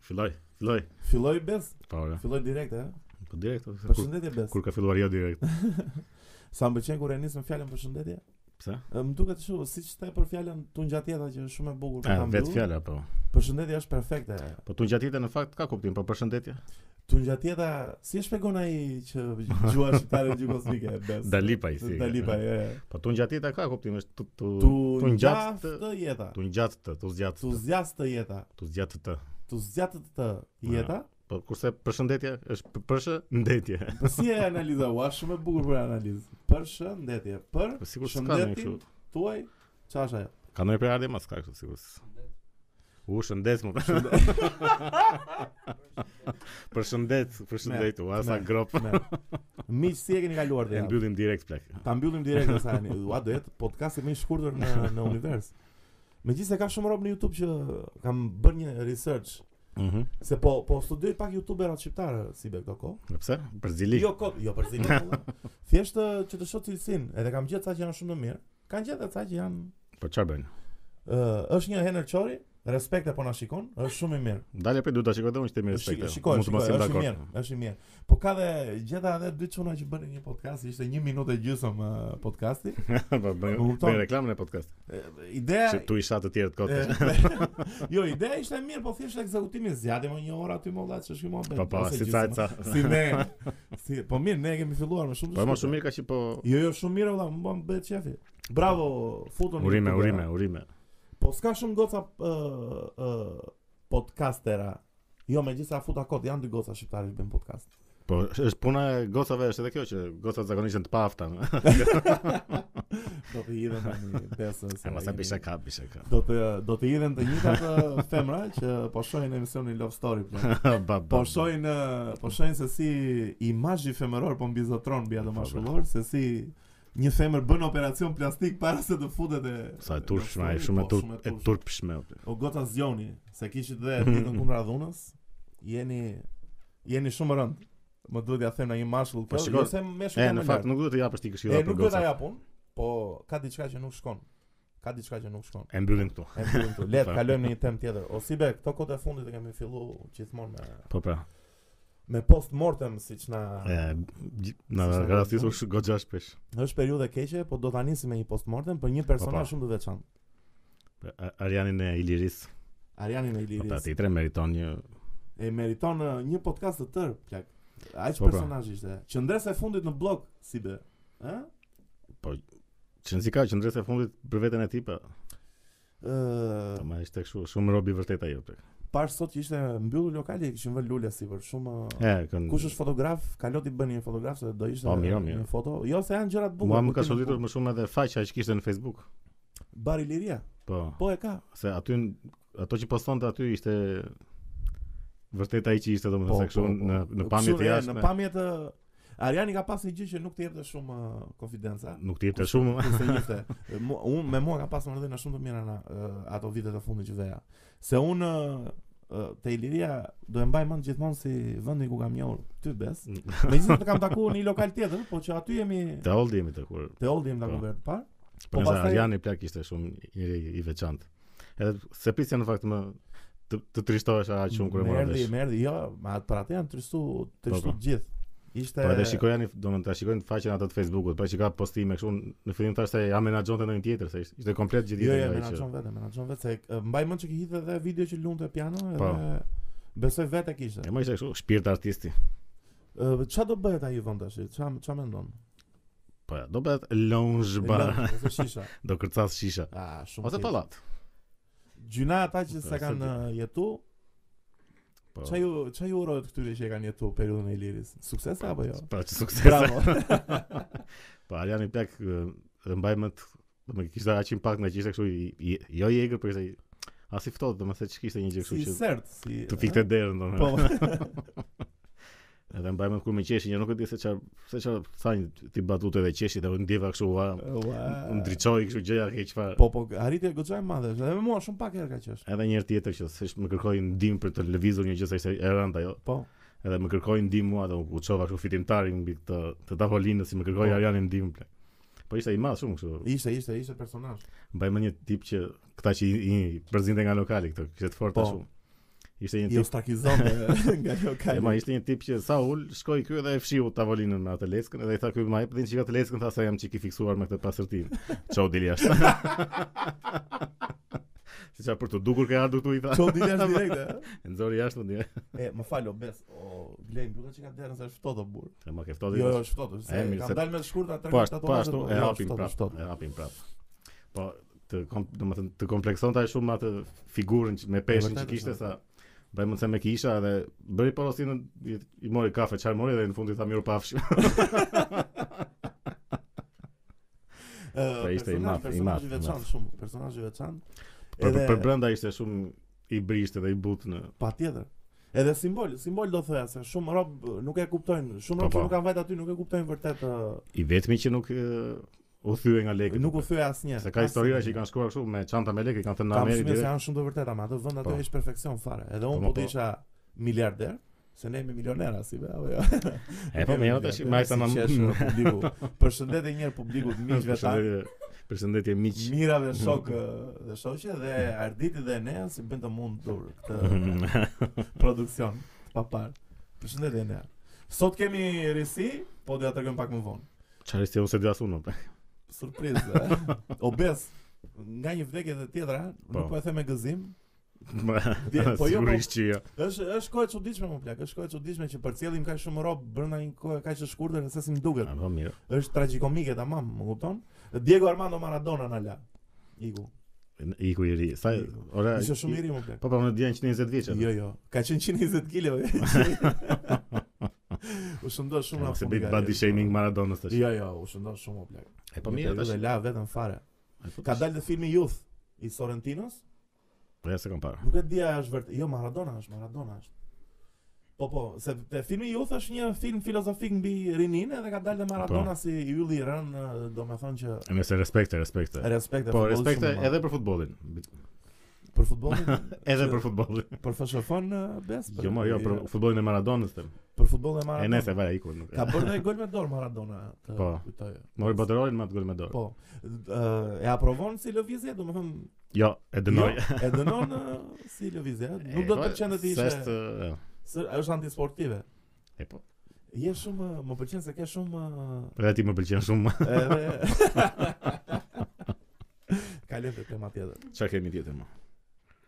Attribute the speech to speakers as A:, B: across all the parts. A: Filloj, filloj.
B: Filloi Bez?
A: Po, ora.
B: Filloi direkt, e?
A: Po direkt. ose Kur,
B: Përshëndetje Bez.
A: kur ka filluar jo direkt.
B: Sa më pëlqen kur e nis me fjalën përshëndetje.
A: Pse?
B: Ë, Më duket kështu, siç the për fjalën tu ngjatë jeta që është shumë e bukur. për
A: E,
B: ta
A: vetë
B: mbyllur.
A: fjala po.
B: Përshëndetje është perfekte.
A: Po tu ngjatjeta në fakt ka kuptim, po përshëndetje.
B: Tu ngjatë jeta, si e shpjegon ai që gjua shqiptare është gjukosmike Bez?
A: Dalipa i si.
B: Dalipa, e. e.
A: Po tu ngjatjeta ka kuptim, është tu tu
B: Tu
A: tu
B: ngjat
A: ngjat të-
B: të jeta.
A: tu ngjat të, tu zgjat
B: Tu
A: të,
B: zjas të jeta.
A: tu zgjat të.
B: Tu zjat të jeta.
A: Po kurse përshëndetje është p- përshëndetje.
B: Po si e analiza? Ua shumë e bukur për analizë. Përshëndetje. Për
A: Po sigurisht s'ka ndonjë
B: Shëndetin.
A: kështu.
B: tuaj jo. çfarë është ajo?
A: Ka ndonjë përardhje mas ka kështu sigurisht. U shëndes më. Përshëndet, përshëndet. Ua sa
B: me.
A: grop.
B: Me. Miq, si e keni kaluar
A: E
B: dhe?
A: mbyllim direkt plak.
B: Ta mbyllim direkt sa tani. Ua do jetë podcasti më i shkurtër në në univers. Megjithëse ka shumë rob në YouTube që kam bërë një research
A: Mhm.
B: se po po studioj pak youtuberat shqiptarë si be këto kohë.
A: Pse? Për zili.
B: Jo kot, jo për zinë. valla. Thjesht ë, që të shoh cilësinë, edhe kam gjetë sa që janë shumë të mirë. Kanë gjetë edhe sa që janë
A: Po çfarë bën?
B: ë, është një Henner Çori, respekte po na shikon, është shumë i mirë.
A: Dalja për duhet ta shikoj dhe unë që të mirë
B: Shikoj,
A: respekte.
B: shikoj,
A: Mund të mos
B: shikoj,
A: jem
B: është i
A: dakord.
B: mirë, është i mirë. Po ka dhe gjeta edhe dy çuna që bënin një podcast, ishte 1 minutë e gjysmë ë, podcasti.
A: Po
B: Më
A: bëjmë
B: kupton?
A: bëjmë reklamën e podcast.
B: E, Ideja
A: Që tu isha të tjerë të kotë.
B: E, jo, ideja ishte e mirë, po thjesht ekzekutimi zgjati më një orë aty më vllaç, ç'është ky mohabet.
A: Po po,
B: ose
A: si ca
B: gjysmë.
A: ca.
B: Si ne. Si, po mirë, ne kemi filluar me shumë.
A: Po më
B: diskute.
A: shumë mirë ka që po
B: Jo, jo, shumë mirë valla, më bën bëhet qefi. Bravo, futun.
A: urime,
B: YouTube-era.
A: urime, urime.
B: Po s'ka shumë goca ë ë podcastera. Jo, megjithsa futa kot, janë dy goca shqiptare që bëjnë podcast.
A: Po është puna e gocave është edhe kjo që gocat zakonisht janë të paafta.
B: Do të hidhen tani pesë. se
A: E mos e
B: jemi-
A: bisha ka, bisha ka.
B: Do të do të hidhen të njëjtat ë, femra që po shohin emisionin Love Story. plan.
A: Ba, ba,
B: Po shohin ë, po shohin se si imazhi femëror po mbizotron mbi atë maskullor, se si një femër bën operacion plastik para se të futet e
A: Sa e turpshme, ai shumë e
B: Po,
A: turp, e
B: turpshme.
A: turpshme. o,
B: O gota zjoni, se kishit dhe ditën kundra dhunës, jeni jeni shumë rënd. Më duhet ja them në një mashkull
A: Po,
B: kjo,
A: shiko,
B: jo se më
A: E,
B: shumë
A: në fakt nuk duhet të japësh ti
B: e
A: këshilla
B: nuk
A: për
B: do ta
A: gocat.
B: jap unë, po ka diçka që nuk shkon. Ka diçka që nuk shkon.
A: E mbyllim këtu.
B: E mbyllim këtu. Le
A: Po.
B: të kalojmë në një temë tjetër. O si be, këto kote e fundit e kemi filluar gjithmonë me
A: Po pra.
B: me post mortem siç na
A: E gj- na
B: Si sa-
A: rastisur sh- goxha shpesh.
B: është periudhë e keqe, po do ta nisim me një post mortem për një personazh
A: Po,
B: shumë të veçantë.
A: A- Arianin e Iliris.
B: Ariani në
A: Po pra,
B: Iliris.
A: ti tre meriton një
B: E meriton uh, një podcast të tërë, plak. Aq
A: Po, pra.
B: personazh ishte. Qëndresa e fundit në blog, si be. Ë?
A: Që nësi ka që ndresa e fundit për veten e po- ti, pa
B: Ë,
A: Po, ma ishte kështu shumë robi vërtet ajo. pra.
B: parë sot që ishte mbyllur lokali, kishin vënë lule sipër, shumë uh,
A: E, kën,
B: Kush është fotograf, kalot i bën një fotograf se do ishte
A: Po, mirë, mirë.
B: një foto. Jo se janë gjëra të bukura.
A: Mua më ka
B: kujtime
A: shoditur
B: bukur. po.
A: më shumë edhe faqja që kishte në Facebook.
B: Bari Liria.
A: Po,
B: Po e ka.
A: se aty n- ato që postonte aty ishte vërtet ai që ishte
B: Po,
A: domethënë se kështu
B: po, po.
A: në në pamje
B: Kështu,
A: të
B: e, Në
A: jashtme.
B: pamje të Ariani ka pas një gjë që nuk të jepte shumë uh, konfidenca.
A: Nuk ti jepte shumë.
B: Kur se njëfte. Mu- Unë me mua ka pas marrëdhëna shumë të mira na ë, ato vitet e fundit që veja. Se unë ë, ë, te Iliria do e mbaj mend gjithmonë si vendi ku kam njohur ty bes. Megjithëse të kam takuar në një lokal tjetër, po që aty jemi
A: Te oldi jemi të kur.
B: te Oldi jemi takuar
A: Po.
B: herë të parë.
A: Po pastaj
B: pastaj-
A: Ariani plak ishte shumë njëri i veçantë. Edhe se prisja në fakt më të, të trishtohesha aq shumë kur e
B: më
A: mora
B: erdhi,
A: vesh.
B: më erdhi, jo, ma atë për atë janë trishtu, trishtu
A: Po, po.
B: gjithë. Ishte
A: Po edhe shikojani, domethënë ta shikojnë faqen atë të Facebookut, pra që ka postime kështu në fillim thashë se ja menaxhonte ndonjë tjetër, se ishte- ishte komplet gjithë
B: Jo,
A: ditën
B: jo,
A: nga ai që-
B: menaxhon vetë, menaxhon vetë se ë, mbaj mend që hidhte edhe video që lunte piano
A: Po. Jo.
B: edhe besoj vetë e kishte.
A: E më ishte kështu shpirt artisti.
B: Ë, Ç'a do bëhet ai vend tash? Ç'a ç'a mendon?
A: Po ja, do bëhet lounge bar,
B: Lëng, Ose shisha.
A: do kërcas shisha.
B: Ah, shumë.
A: Ose
B: keq.
A: pallat.
B: Gjyna ata që s'e
A: Ose
B: kanë
A: gjë.
B: uh, jetu,
A: Po.
B: çaj ju çaj ju urojt këtyre që e kanë jetu periudhën e Iliris. Sukses apo jo?
A: Pra që sukses.
B: Bravo.
A: Po Ariani Plak e mbaj më të më kishte aq impakt nga që ishte kështu i- i- jo i egër, por ishte i- as i ftohtë, domethënë që kishte një gjë
B: si
A: Jo, kështu që
B: sert, si
A: të fikte derën domethënë.
B: Po.
A: Edhe mbaj më kur më qeshi, një nuk e di se çfarë se çfarë tha një ti batute dhe qeshi dhe u ndjeva kështu ua.
B: Ua.
A: Më ndriçoi kështu gjëja ke çfarë.
B: Po po, arritja goxha e madhe. është. Edhe me mua shumë pak herë ka qesh.
A: Edhe një herë tjetër që s'është më kërkoi ndihmë për të lëvizur një gjë se ishte e jo? rënd ajo.
B: Po.
A: Edhe më kërkoi ndihmë mua dhe u kuçova kështu fitimtarin mbi këtë të tavolinës si më kërkoi
B: Po.
A: Ariani ndihmë. plak. Po ishte i madh shumë kështu.
B: Ishte, ishte, ishte personazh.
A: Mbaj më një tip që këta që i, i përzinte nga lokali këto, kishte të fortë
B: Po.
A: shumë. Ishte
B: I
A: një tip,
B: ostakizon nga kjo
A: e,
B: kajtë.
A: ma ishte një tip që sa ul, shkoi ky dhe e fshiu tavolinën me atë leskën edhe i tha ky më jep dhe çika të leskën tha se jam çik i fiksuar me këtë pasërtim. Çau dili jashtë. Si qa për të dukur ke ardhur këtu i tha.
B: Ço dilja është direkt.
A: E nxori jashtë po, ndje.
B: e? E, më fal obes. O, Glej, mbyllën që ka derën se është ftohtë o burr.
A: E ma ke ftohtë.
B: Jo, jo, është ftohtë.
A: Po, E,
B: Se
A: mirë, se-
B: kam dalë me të shkurtë atë
A: Po
B: tash
A: ashtu, po ashtu e hapim prap,
B: Ftohtë.
A: e hapim prap. Po të kom, domethënë të komplekson shumë atë figurën që- me peshën që
B: vërtet,
A: kishte
B: është
A: sa Bëj mund se me kisha edhe bëri porosinë i, i mori kafe çfarë mori dhe në fund i tha mirë pafsh.
B: Po
A: Po, ishte i madh, i madh, i
B: Personazhi
A: madh.
B: veçantë shumë, personazhi veçantë.
A: Për, për brenda ishte shumë i brishtë dhe i butë në
B: Patjetër. Edhe simbol, simbol do thoya se shumë rob nuk e kuptojnë, shumë
A: Po,
B: rob
A: po.
B: që nuk kanë vajt aty nuk e kuptojnë vërtet, ë,
A: i vetmi që nuk e, u thye nga lekët.
B: nuk u thye asnjë.
A: se ka historira që i kanë shkuar kështu me çanta me lekë i kanë thënë në
B: Kam
A: Ameri
B: shumë se
A: direkt.
B: janë shumë të vërteta, ama atë vend aty
A: Po.
B: është perfeksion fare. Edhe
A: Po,
B: unë
A: ma
B: po
A: po.
B: të isha miliarder, se ne jemi milionera si be, apo jo.
A: E po mirë tash më ajta më.
B: më publiku. Përshëndetje një herë publikut miqve tanë.
A: Përshëndetje- Përshëndetje miq.
B: Mirave shok ë, dhe shoqe dhe Arditi dhe Enea si bën të mund dur këtë produksion pa parë. Përshëndetje Enea. Sot kemi risi, po do ja tregojm pak më vonë.
A: Çfarë ishte unë se dua unë. pre.
B: Surprizë. eh? Obes nga një vdekje dhe tjetra,
A: Po.
B: nuk po e them me gëzim. Dje- po jo, po-
A: Sigurisht që jo.
B: Është është kohë e çuditshme më plak, është kohë e çuditshme që përcjellim kaq shumë rob brenda një kohe kaq të shkurtër se si më duket.
A: A, Po mirë.
B: Është tragjikomike tamam, më kupton? Diego Armando Maradona na la. Iku.
A: Iku i ri. Sa
B: Iku.
A: ora.
B: Ishte shumë i ri më plak.
A: Po po unë djenë 120 vjeçë.
B: Jo, jo. Ka qenë 120 kilo. u shëndon shumë
A: Mos e
B: fund
A: bëj
B: galerisë,
A: body shaming Maradonës tash.
B: Jo, jo, u shëndon shumë o plak.
A: E po
B: Një
A: mirë
B: periudhë
A: tash.
B: e la vetëm fare.
A: E, po,
B: Ka
A: tash.
B: dalë dhe filmi Youth i Sorrentinos.
A: Po ja se kam parë.
B: Nuk e dia është vërtet. Jo, Maradona është, Maradona është. Po po, se te filmi Youth është një film filozofik mbi rinin edhe ka
A: Po.
B: dalë dhe Maradona si ylli i rën, do me thonë që
A: E Nëse respekte, respekte.
B: respekte
A: Po
B: futbollit
A: respekte
B: shumë i madh.
A: edhe për futbollin.
B: për futbollin,
A: Edhe
B: që-
A: për futbollin.
B: për FSHF-n ë, bes.
A: Jo, mo, jo, për futbollin e Maradonës them.
B: për futbollin e
A: E
B: Maradona.
A: nëse vaja iku nuk.
B: Ka bërë dhe gol me dorë Maradona, të
A: Po.
B: kujtoj.
A: Mori botërorin me atë gol me dorë.
B: Po. ë, e aprovon si lëvizje, domethënë
A: Jo, e dënoi.
B: Jo, e dënon ë, si lëvizje, ë. nuk
A: E,
B: do
A: po,
B: të pëlqen të
A: se
B: ishte.
A: Është e,
B: së- Është antisportive.
A: e po.
B: Je shumë, ë, më pëlqen se ke shumë ë,
A: Edhe ti më pëlqen shumë.
B: Edhe Kalem te tema tjetër.
A: Çfarë kemi tjetër më?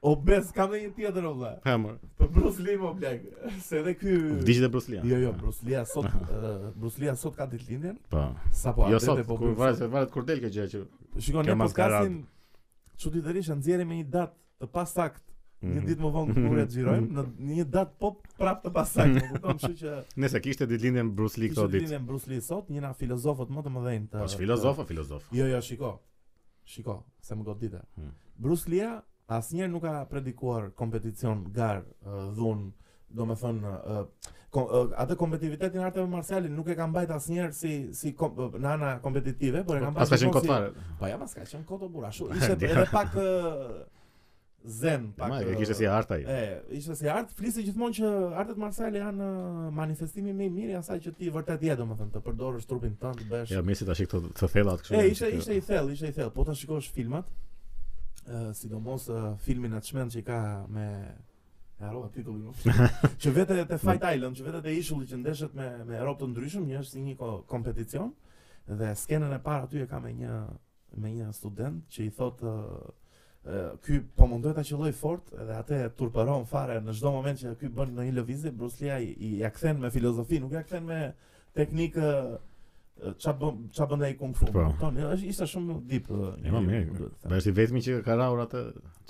B: O bes, kam dhe një tjetër o vlla.
A: Ha mor.
B: Për Bruce Lee më blek. Se edhe ky
A: Vdiqet e Bruce Lee.
B: Jo, jo, Bruce Lee sot ë, Bruce Lee sot ka ditëlindjen,
A: Po.
B: sapo
A: Jo
B: atë
A: sot,
B: po
A: kur
B: bëjmë
A: varet, varet kur del kjo gjë që.
B: sot. Shikon
A: kjo
B: ne
A: maskarad.
B: podcastin çuditërisht e nxjerrim me një datë të pasakt. Një
A: Mhm.
B: ditë më vonë kur e
A: Mm.
B: xhirojmë në një datë po prap të pasakt, më kupton, kështu që
A: Nëse kishte ditëlindjen Bruce Lee
B: kishte
A: këto ditë.
B: ditëlindjen Bruce Lee sot, një nga filozofët më të mëdhenj të
A: Po është filozof, o filozof.
B: Jo, jo, shiko. Shiko, se më godite.
A: Hmm.
B: Bruce Lee asnjëherë nuk ka predikuar kompeticion gar, ë, dhun, do me thënë, ë, kom, ë, atë kompetitivitetin e arteve marciale nuk e ka mbajt asnjëherë si, si kom, ë, në ana kompetitive, por e ka mbajt
A: Pas ka qenë
B: gjithmonë
A: kot fare.
B: Si, po ja, pas ka qenë kot o burr, ashtu. Ishte edhe pak ë, zen, pak.
A: Ma, e
B: ë,
A: kishte si art ai.
B: E, ishte si art, flisi gjithmonë që artet marciale janë ë, manifestimi më i mirë i asaj që ti vërtet je, domethënë, të përdorësh trupin tënd, të bësh
A: Ja, mirë se tash këto të thellat
B: E,
A: kështu. janë
B: ishte,
A: që-
B: ishte i thellë, ishte i thellë. Po ta shikosh filmat, ë, sidomos ë, filmin atë shmend që i ka me e harrova titullin. unë. që vetë te Fight Island, që vetë te ishulli që ndeshet me me rob të ndryshëm, një është si një ko- kompeticion dhe skenën e parë aty e ka me një me një student që i thot ë, ë, ky po mundohet ta qelloj fort edhe atë e turpëron fare në çdo moment që ky bën ndonjë lëvizje Bruce Lee ai i ja kthen me filozofi, nuk ja kthen me teknikë ë, ç'a bën ç'a bën ai kung fu.
A: Po.
B: Kupton? Jo, është- Ishte shumë deep. ë,
A: E, ma, mirë. po,
B: më duhet të them.
A: Ba është i vetmi që ka raur atë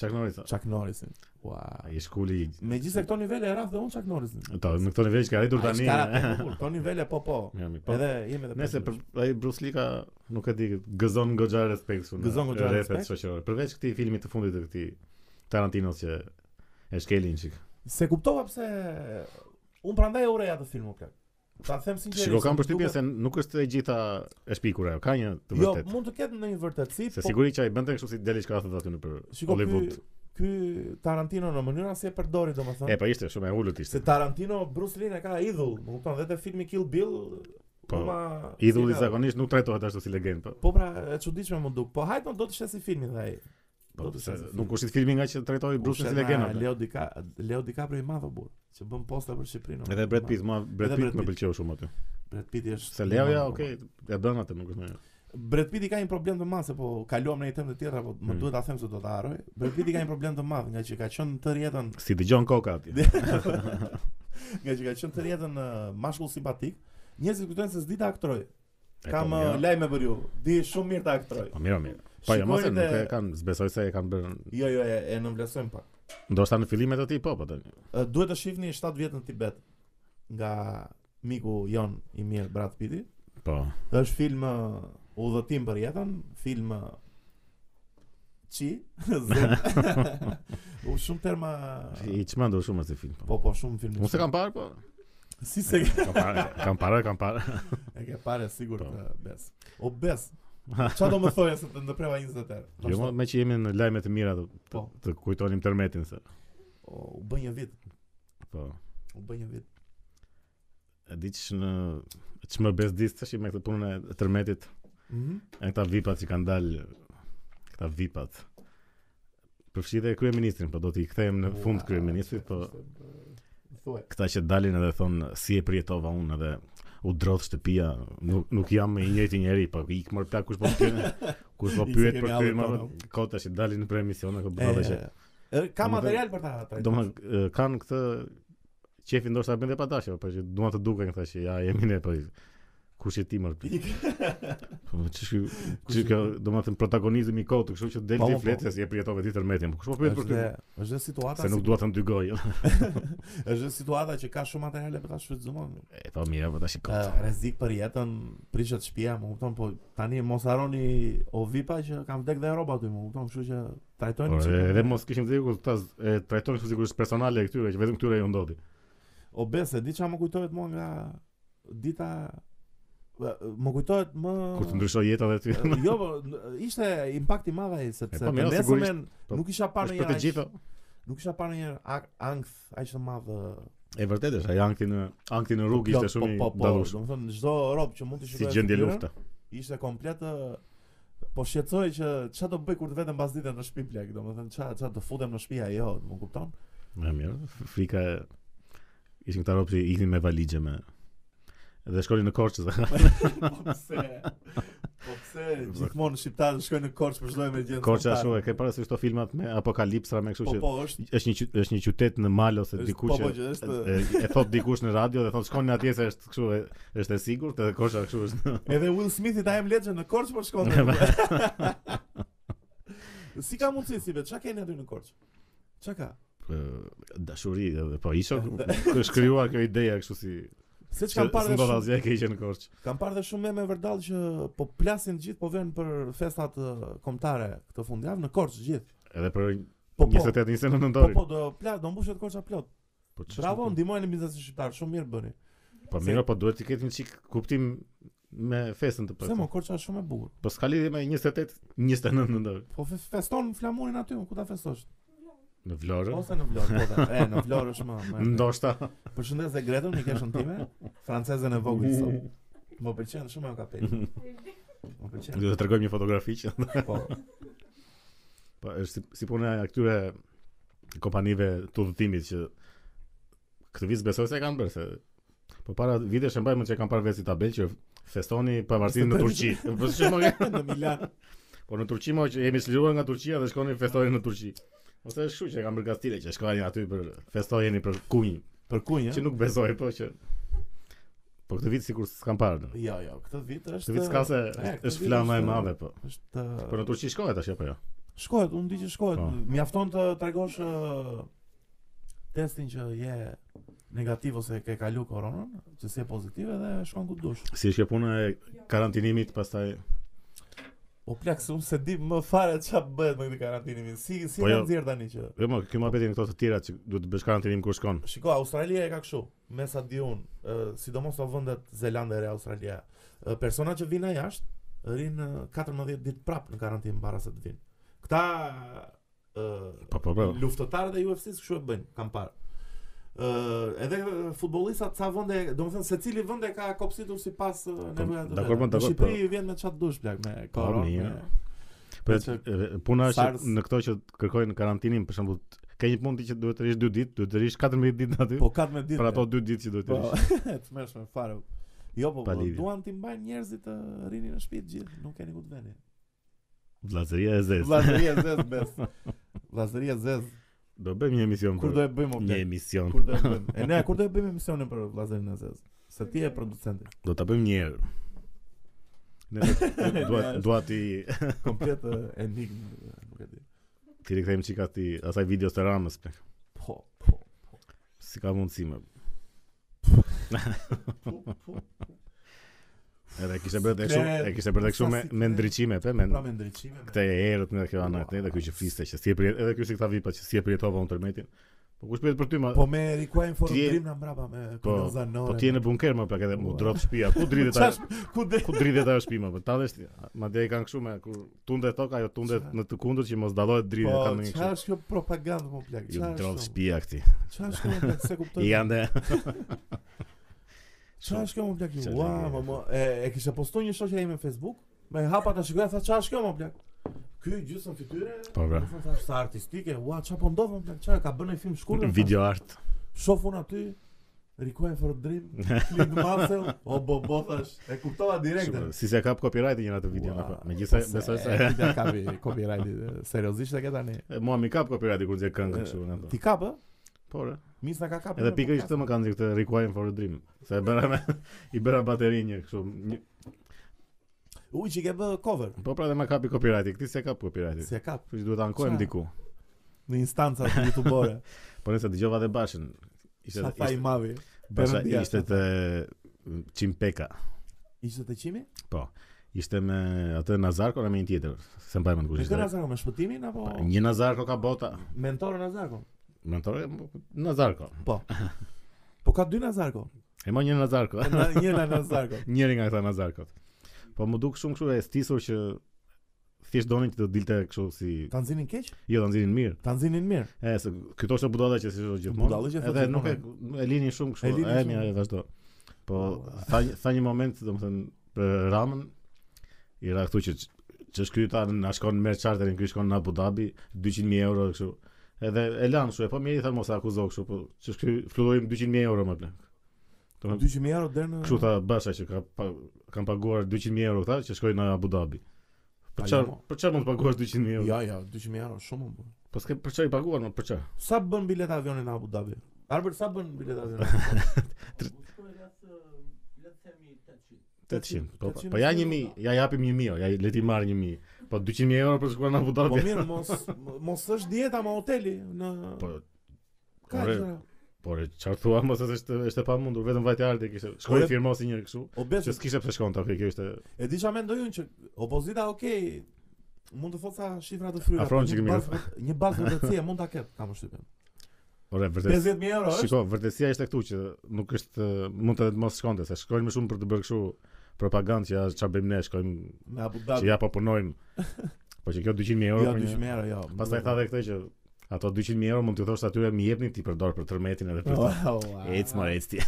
A: Chuck Norris. a.
B: Chuck Norrisin. Ua.
A: Ai shkuli.
B: Megjithëse këto nivele e raf dhe unë Chuck Norrisin.
A: Ta, në këto nivel që ka rritur
B: Ai
A: tani.
B: shkara të bukur, Këto nivele po po.
A: Ja, mi, po.
B: Edhe jemi edhe
A: Nëse
B: pesësh.
A: për ai Bruce Lee ka nuk e di, gëzon goxha respekt shumë.
B: Gëzon goxha respekt.
A: shoqëror. Përveç këtij filmi të fundit të këtij Tarantinos që e shkelin çik.
B: se kuptova pse unë prandaj e urej atë filmin plak. Ta them sinqerisht.
A: Shiko kam
B: më duket-
A: përshtypjen se nuk është e gjitha e shpikur ajo. Ka një të
B: Jo,
A: vërtet.
B: mund të ketë ndonjë vërtetësi,
A: Se sigurisht që ai bënte kështu si deli çka thotë aty në për
B: Po. Shiko,
A: Hollywood.
B: ky Tarantino në mënyrën se e përdori domethënë.
A: E po ishte shumë e ulët ishte.
B: Se Tarantino Bruce Lee e ka idhull, më kupton, dhe te filmi Kill Bill.
A: Po,
B: uma-
A: Idhulli
B: si ka-
A: zakonisht nuk trajtohet ashtu si legendë, po.
B: Po pra, e çuditshme më duk. Po hajtë do të shesi filmin dhe ai.
A: Po,
B: Do të
A: se
B: se-
A: nuk është filmi nga që trajtoi Bruce si
B: Ushen,
A: legendë.
B: Leo Dica- Leo DiCaprio i madh o burr, që bën posta për Shqipërinë. o,
A: Edhe Brad
B: ma-
A: Pitt, ma Brad
B: Edhe
A: Pitt
B: Brad
A: më
B: Pitt.
A: pëlqeu shumë aty.
B: Brad Pitt është
A: Se Leo
B: i
A: ja,
B: madh,
A: okay,
B: o,
A: e bën atë, nuk është më.
B: ma. Brad Pitt i ka një problem të madh se po kaluam në një temë të tjera, po më
A: Mm.
B: duhet ta them se do ta harroj. Brad Pitt i ka një problem të madh nga që ka qenë tërë jetën
A: Si dëgjon koka atje.
B: nga që ka qenë tërë jetën uh, mashkull simpatik. Njerëzit kujtojnë se s'di ta aktroj.
A: E,
B: Kam
A: po,
B: uh,
A: mirë.
B: lajme për ju. Di shumë mirë ta aktroj.
A: Po mirë, mirë. Po jo, mos e
B: Shikojnë
A: nuk e
B: dhe-
A: kanë, zbesoj se e kanë bërë.
B: Jo, jo, e, e nënvlerësojmë pak.
A: Ndoshta në fillimet e tij po, po tani.
B: Ë, Duhet të shihni 7 vjet në Tibet nga miku jon i mirë Brad Pitti.
A: Po.
B: Është film ë, udhëtim për jetën, film ë, çi, zë. U shumë terma
A: I çmendur shumë asaj film. Po.
B: Po po shumë film.
A: Unë se kam parë, po.
B: si se
A: Kam parë, kam parë, kam parë.
B: e ke parë sigurt
A: Po.
B: ë, bes. O bes. Çfarë do më thoje se të ndërpreva 20 herë?
A: Jo,
B: Vazhdo.
A: mo, me që jemi në lajme të mira të, të,
B: Po.
A: të kujtonim tërmetin se.
B: O, u bën një vit,
A: Po.
B: u bën një vit.
A: E di që në që më bezdis të me këtë punën e tërmetit
B: Mhm.
A: e këta vipat që kanë dalë këta vipat përfshi dhe kryeministrin, po do t'i kthejmë në fund
B: Ua,
A: kryeministrit, po
B: Thuaj.
A: këta që dalin edhe thonë si e përjetova unë edhe u drodh shtëpia, nuk, nuk jam me i njëjti njeri, po i këmër plak kush po më pyet, kush po
B: I se
A: pyet
B: kemi
A: për
B: hallin
A: këtë më
B: tonë.
A: kota që dalin për emisione, ko
B: E,
A: bëra që
B: e, Ka
A: Domethënë-
B: material për ta. trajtuar.
A: Do më kanë këtë qefi ndoshta bën dhe pa dashje, po që duan të duken këta që ja jemi ne po kush e timër. Po ç'është ç'është kjo, domethënë protagonizmi i kotë, kështu që del
B: Po,
A: ti
B: po.
A: flet se si e përjetove ti tërmetin. po Kush po pyet për
B: Është
A: këtë?
B: dhe- është dhe situata
A: Se nuk
B: si-
A: dua të ndygoj.
B: është dhe situata që ka shumë materiale për ta shfrytzuar.
A: E po mirë, po tash i kot.
B: Ë, Rrezik për jetën, prishet shtëpia, më kupton, po tani mos harroni o vipa që kanë vdekë dhe roba aty, më kupton, kështu që trajtojnë
A: Por
B: kështu.
A: Po, edhe mos kishim dhënë kur ta z- e trajtojnë kështu sigurisht personale e këtyre, që vetëm këtyre ju ndodhi.
B: O bese, di çfarë më kujtohet mua nga dita Ë, më kujtohet më
A: Kur të ndryshoj jeta dhe ty.
B: Ë, Oh. jo, po, n- ishte impakt i madh ai sepse
A: E, po, mira,
B: të
A: sigurisht,
B: nesërmen
A: po,
B: nuk isha parë
A: Është për të
B: një
A: gjitha.
B: nuk isha parë një ankth aq të madh ë,
A: E vërtetë është, ai ankthi në ankthi në rrugë
B: plot,
A: ishte shumë i
B: po, po, po,
A: dallueshëm.
B: domethënë çdo rob që mund të
A: Si
B: shikoje
A: gjendje
B: fytyrën,
A: lufta.
B: ishte komplet ë, po shqetësoj që ç'a do bëj kur të vetem pas ditën në shtëpi plak, domethënë ç'a ç'a do futem në shtëpi ajo, më kupton?
A: Ja mirë, Frika e- ishin këta ropë që iknin me valigje me dhe shkonin në Korçë.
B: po pse? Po pse gjithmonë shqiptarët shkojnë në Korçë për çdo emergjencë. kombëtare?
A: Korça ashtu e ke parë se këto filmat me apokalipsra me kështu
B: Po
A: që
B: po është
A: është një qy- është një qytet në mal ose
B: është-
A: diku
B: po,
A: që
B: po, që është-
A: e, e thot dikush në radio dhe thot shkonin atje se është kështu e- është e sigurt edhe Korça kështu është.
B: edhe Will Smithi ta jem legend në Korçë po shkon. si ka mundësi si vetë ç'a keni aty në Korçë? Ç'a ka?
A: E, Po, dashuri edhe po isha është krijuar kjo ideja kështu si
B: Se që
A: që
B: kam parë dhe
A: s'ndodh
B: shumë
A: asgjë e keqe në Korçë.
B: Kam parë dhe shumë meme vërdall që po plasin gjithë po vjen për festat uh, kombëtare këtë fundjavë në Korçë gjithë.
A: Edhe për
B: Po po.
A: 28 29
B: Po
A: nëntorin.
B: po do plas, do mbushet Korça plot.
A: Po ç'është
B: Bravo,
A: kjo?
B: ndihmojnë biznesin shqiptar, shumë mirë bëni.
A: Po
B: se-
A: mirë, po duhet të ketë një çik kuptim me festën të
B: Pse
A: përta.
B: mo Korça është shumë e bukur.
A: Po s'ka lidhje me 28, 29 nëndor.
B: Po fe- feston flamurin aty, ku ta festosh?
A: Në Vlorë.
B: Ose në Vlorë, po ta. E, në Vlorë është më. më e-
A: Ndoshta.
B: Përshëndes dhe Gretën, i keshën time, francezën e vogël sot. Më pëlqen shumë ajo kapel. Më pëlqen.
A: Do të tregojmë një fotografi që
B: Po,
A: po është si, si puna e këtyre kompanive të udhëtimit që këtë vit besoj se e kanë bërë se po para vitesh e mbajmë që e kanë parë vetë si tabelë që festoni pavarësinë në Turqi. Po shumë nga-
B: në Milan.
A: po në Turqi më që jemi çliruar nga Turqia dhe shkoni festoni në Turqi. Ose është kështu që e kanë bërë gastile që shkojnë aty për festojeni për kunj,
B: Për kunjë?
A: që nuk besoj po që po këtë vit sikur s'kan parë. do.
B: Jo, jo, këtë vit është.
A: Këtë vit s'ka se
B: e, këtë
A: është
B: vit
A: flama e
B: është-
A: madhe po.
B: Është
A: Po në Turqi shkohet tash apo jo?
B: Shkohet, unë di që shkohet.
A: Po.
B: Mjafton të tregosh ë, testin që je negativ ose ke kalu koronën, që si e pozitive dhe shkon ku të dush.
A: Si është kjo puna e karantinimit pastaj? jo,
B: O Po plak, se unë se di më fare ç'a bëhet me këtë karantinimin. Si si
A: Po
B: po,
A: jo.
B: kanë nxjerr tani që.
A: Jo, më kjo muhabetin këto të tjera që duhet të bësh karantinim kur shkon.
B: Shiko, Australia e ka kështu, me sa di unë, ë, sidomos në vendet Zelanda e Re Australia. ë, persona që vinë jashtë rinë ë, 14 ditë prapë në karantinë para se të vinë. Këta ë,
A: Po po po.
B: Mm, Luftëtarët e UFC-s kështu e bëjnë, kam parë. Ë edhe futbollistat sa vende, domethënë secili vend e ka kopsitur sipas ë, nevojave të
A: dakor,
B: veta.
A: po,
B: Në
A: dakor,
B: Shqipëri vjen me çat dush plak me koron.
A: mirë.
B: me-
A: Po
B: që
A: e, puna
B: SARS-
A: që në këto që kërkojnë karantinin, për shembull, t- ka një punë ti që duhet të rish 2 ditë, duhet të rish 14 ditë aty.
B: po 14 ditë.
A: për ato 2 ditë që duhet të rish.
B: Po, të mëshme fare. Jo, po, po
A: Palivje.
B: duan ti mbajnë njerëzit të rrinin në shtëpi të gjithë, nuk keni ku të vëni.
A: Vllazëria e zezë.
B: Vllazëria zez bes. Vllazëria zez.
A: Do bëjmë një emision
B: Kur do e bëjmë
A: një
B: optim?
A: emision.
B: Kur do e bëjmë? E ne kur do e bëjmë emisionin për vllazërin e zez? Se ti je producenti.
A: Do ta bëjmë një herë. Ne do- dua
B: Ne-
A: dua ti
B: Komplet e, enigmë, nuk e di.
A: ti rikthejmë çika ti asaj videos të Ramës. plak.
B: Po, po.
A: Si ka mundësi më.
B: Po, po.
A: Edhe kishte bërë dhe kështu,
B: Siklet,
A: e kishte bërë dhe kështu
B: sa
A: me me
B: siklet.
A: ndriçime, pe, me
B: Pra me ndriçime. me-
A: këtë e herët nga kjo anë këtë, edhe ky që fliste që si e përjet, edhe ky si këta vipa që si e përjetova unë tërmetin. Po kush pyet për ty ma?
B: Po me rikuajm
A: Ti je-
B: forum na mbrapa me
A: Po,
B: kunoza nore.
A: Po ti je në bunker më plak edhe mu
B: Ua.
A: drop shtëpia. Ku dritet ajo?
B: Ku de?
A: Ku dritet ajo shtëpi më? Po ta vesh. Madje i kanë kështu me kur tundet toka, ajo tundet
B: Qa?
A: në të kundërt që mos dallohet dridhe
B: Po,
A: kanë ndonjë
B: çfarë
A: kështu.
B: është kjo propagandë më plak?
A: Ju
B: Çfarë është?
A: drop
B: kjo?
A: shtëpia këti.
B: Çfarë është kjo më plak? Se kuptoj.
A: Jo, I janë dhe
B: Çfarë është kjo më plak?
A: Çfarë
B: Ua,
A: është kjo?
B: më më e, e kisha postuar një shoqja ime në Facebook. Me hapa ta shikoja tha çfarë është kjo më plak? Ky gjysmë fytyre.
A: Po, bra.
B: më thonë, thash, Sa artistike. Ua, çfarë po ndodh më plak? Çfarë ka bërë një film shkurt?
A: video art.
B: Shof unë aty. Rikuaj for dream, Clint Mansell, o bo bo thash, e kuptova direkt. e.
A: Shumë, Si se kap copyright njëra të video
B: Ua,
A: apo. Megjithëse
B: po
A: besoj
B: e
A: se
B: Ti ta kapi copyright seriozisht e ke tani.
A: E, mua mi kap copyright kur nxjerr këngë kështu në ato.
B: Ti kap ë?
A: Po. re.
B: Misa ka kap.
A: Edhe pikërisht këtë më kanë thënë këtë requiem for a dream. Se e bëra me i bëra bateri një kështu. Një,
B: Uj, që ke bë cover.
A: po pra dhe më kapi copyrighti. Këtë se kap copyrighti.
B: Si e kap
A: Kështu që duhet ta ankojmë
B: Qa?
A: diku.
B: në instanca youtubore.
A: Po nëse dëgjova dhe Bashin. Ishte
B: Sa fa i
A: ishte-
B: mavi.
A: Basha
B: Perëndia,
A: ishte
B: sa
A: te Qimpeka.
B: Ishte të qimi?
A: Ishte me atë Nazarko me një tjetër. Se mbaj mend kush
B: Me kërë
A: ishte.
B: Nazarko, me shpëtimin, apo
A: Pa, Një Nazarko ka bota.
B: mentore Nazarko?
A: Mentore Nazarko.
B: Po ka dy Nazarko.
A: E mo një Nazarko.
B: Na- Një nga Nazarko.
A: njëri nga këta nazarkot. Po më duk shumë kështu e stisur që thjesht donin që të dilte kështu si
B: Ta nxinin keq?
A: jo ta nxinin mirë.
B: Ta nxinin mirë.
A: E se ky thoshte budalla që si thotë gjithmonë.
B: Budalla që thotë
A: Edhe nuk e e linin shumë
B: E
A: kështu.
B: linin
A: E
B: shumë.
A: mja e vazhdo. Po
B: Ua.
A: tha tha një moment domethënë për Ramën i ra këtu që që shkry ta na shkon në merr charterin, ky shkon në Abu Dhabi 200.000 euro kështu. Edhe e lan kështu, e po mirë i tha mos e akuzo kështu, po që shkry fluturim 200.000 euro më plan. Domethënë
B: 200.000 euro deri në
A: Po. Kështu tha Basha që ka pa, kanë paguar 200.000 euro këta që shkojnë në Abu Dhabi. Për
B: Pa,
A: çfarë
B: jo.
A: për çfarë mund të paguash 200.000 euro?
B: Jo, jo, 200.000 euro shumë më. bë.
A: Po s'ke për çfarë i paguar, më për çfarë?
B: Sa bën bileta avioni në Abu Dhabi? Arbër sa bën bileta avioni? në Abu Dhabi?
C: le të themi 800.
A: 800. Po
B: 800
A: po ja
B: euro.
A: 1000, ja japim 1000, jo, ja le ti marr 1000. Po 200.000 euro për të shkuar në Abu
B: Po
A: Dhabi.
B: mirë, mos mos është dieta ma hoteli në
A: Po
B: ka
A: ore.
B: gjëra.
A: por çfarë thua mos është është- është e pamundur, vetëm vajti arti kishte. Shkoi
B: Ore-
A: firmosi një kështu.
B: O besh,
A: Që s'kishte pse shkonte, okay, kjo ishte
B: E di çfarë mendoj unë që opozita okay mund të thotë sa shifra të fryra.
A: Afron
B: po
A: që
B: një
A: kemi
B: bazë vë- Një bazë vërtetësie mund ta ketë, kam përshtypjen.
A: ore vërtet.
B: 50000 euro është.
A: Shiko, vërtetësia ishte këtu që nuk është mund të mos shkonte, se shkojnë më shumë për të bërë kështu propagandë që ja çfarë bëjmë ne, shkojmë
B: Me Abu
A: që
B: Dhabi.
A: ja po punojmë. Po që kjo 200.000 euro.
B: Jo,
A: për një-
B: 200000 euro, jo.
A: Pastaj tha edhe këtë që ato 200.000 euro mund t'ju thosh atyre mi jepni ti përdor për tërmetin edhe për.
B: Oh,
A: të-
B: oh,
A: Ec more ec ti.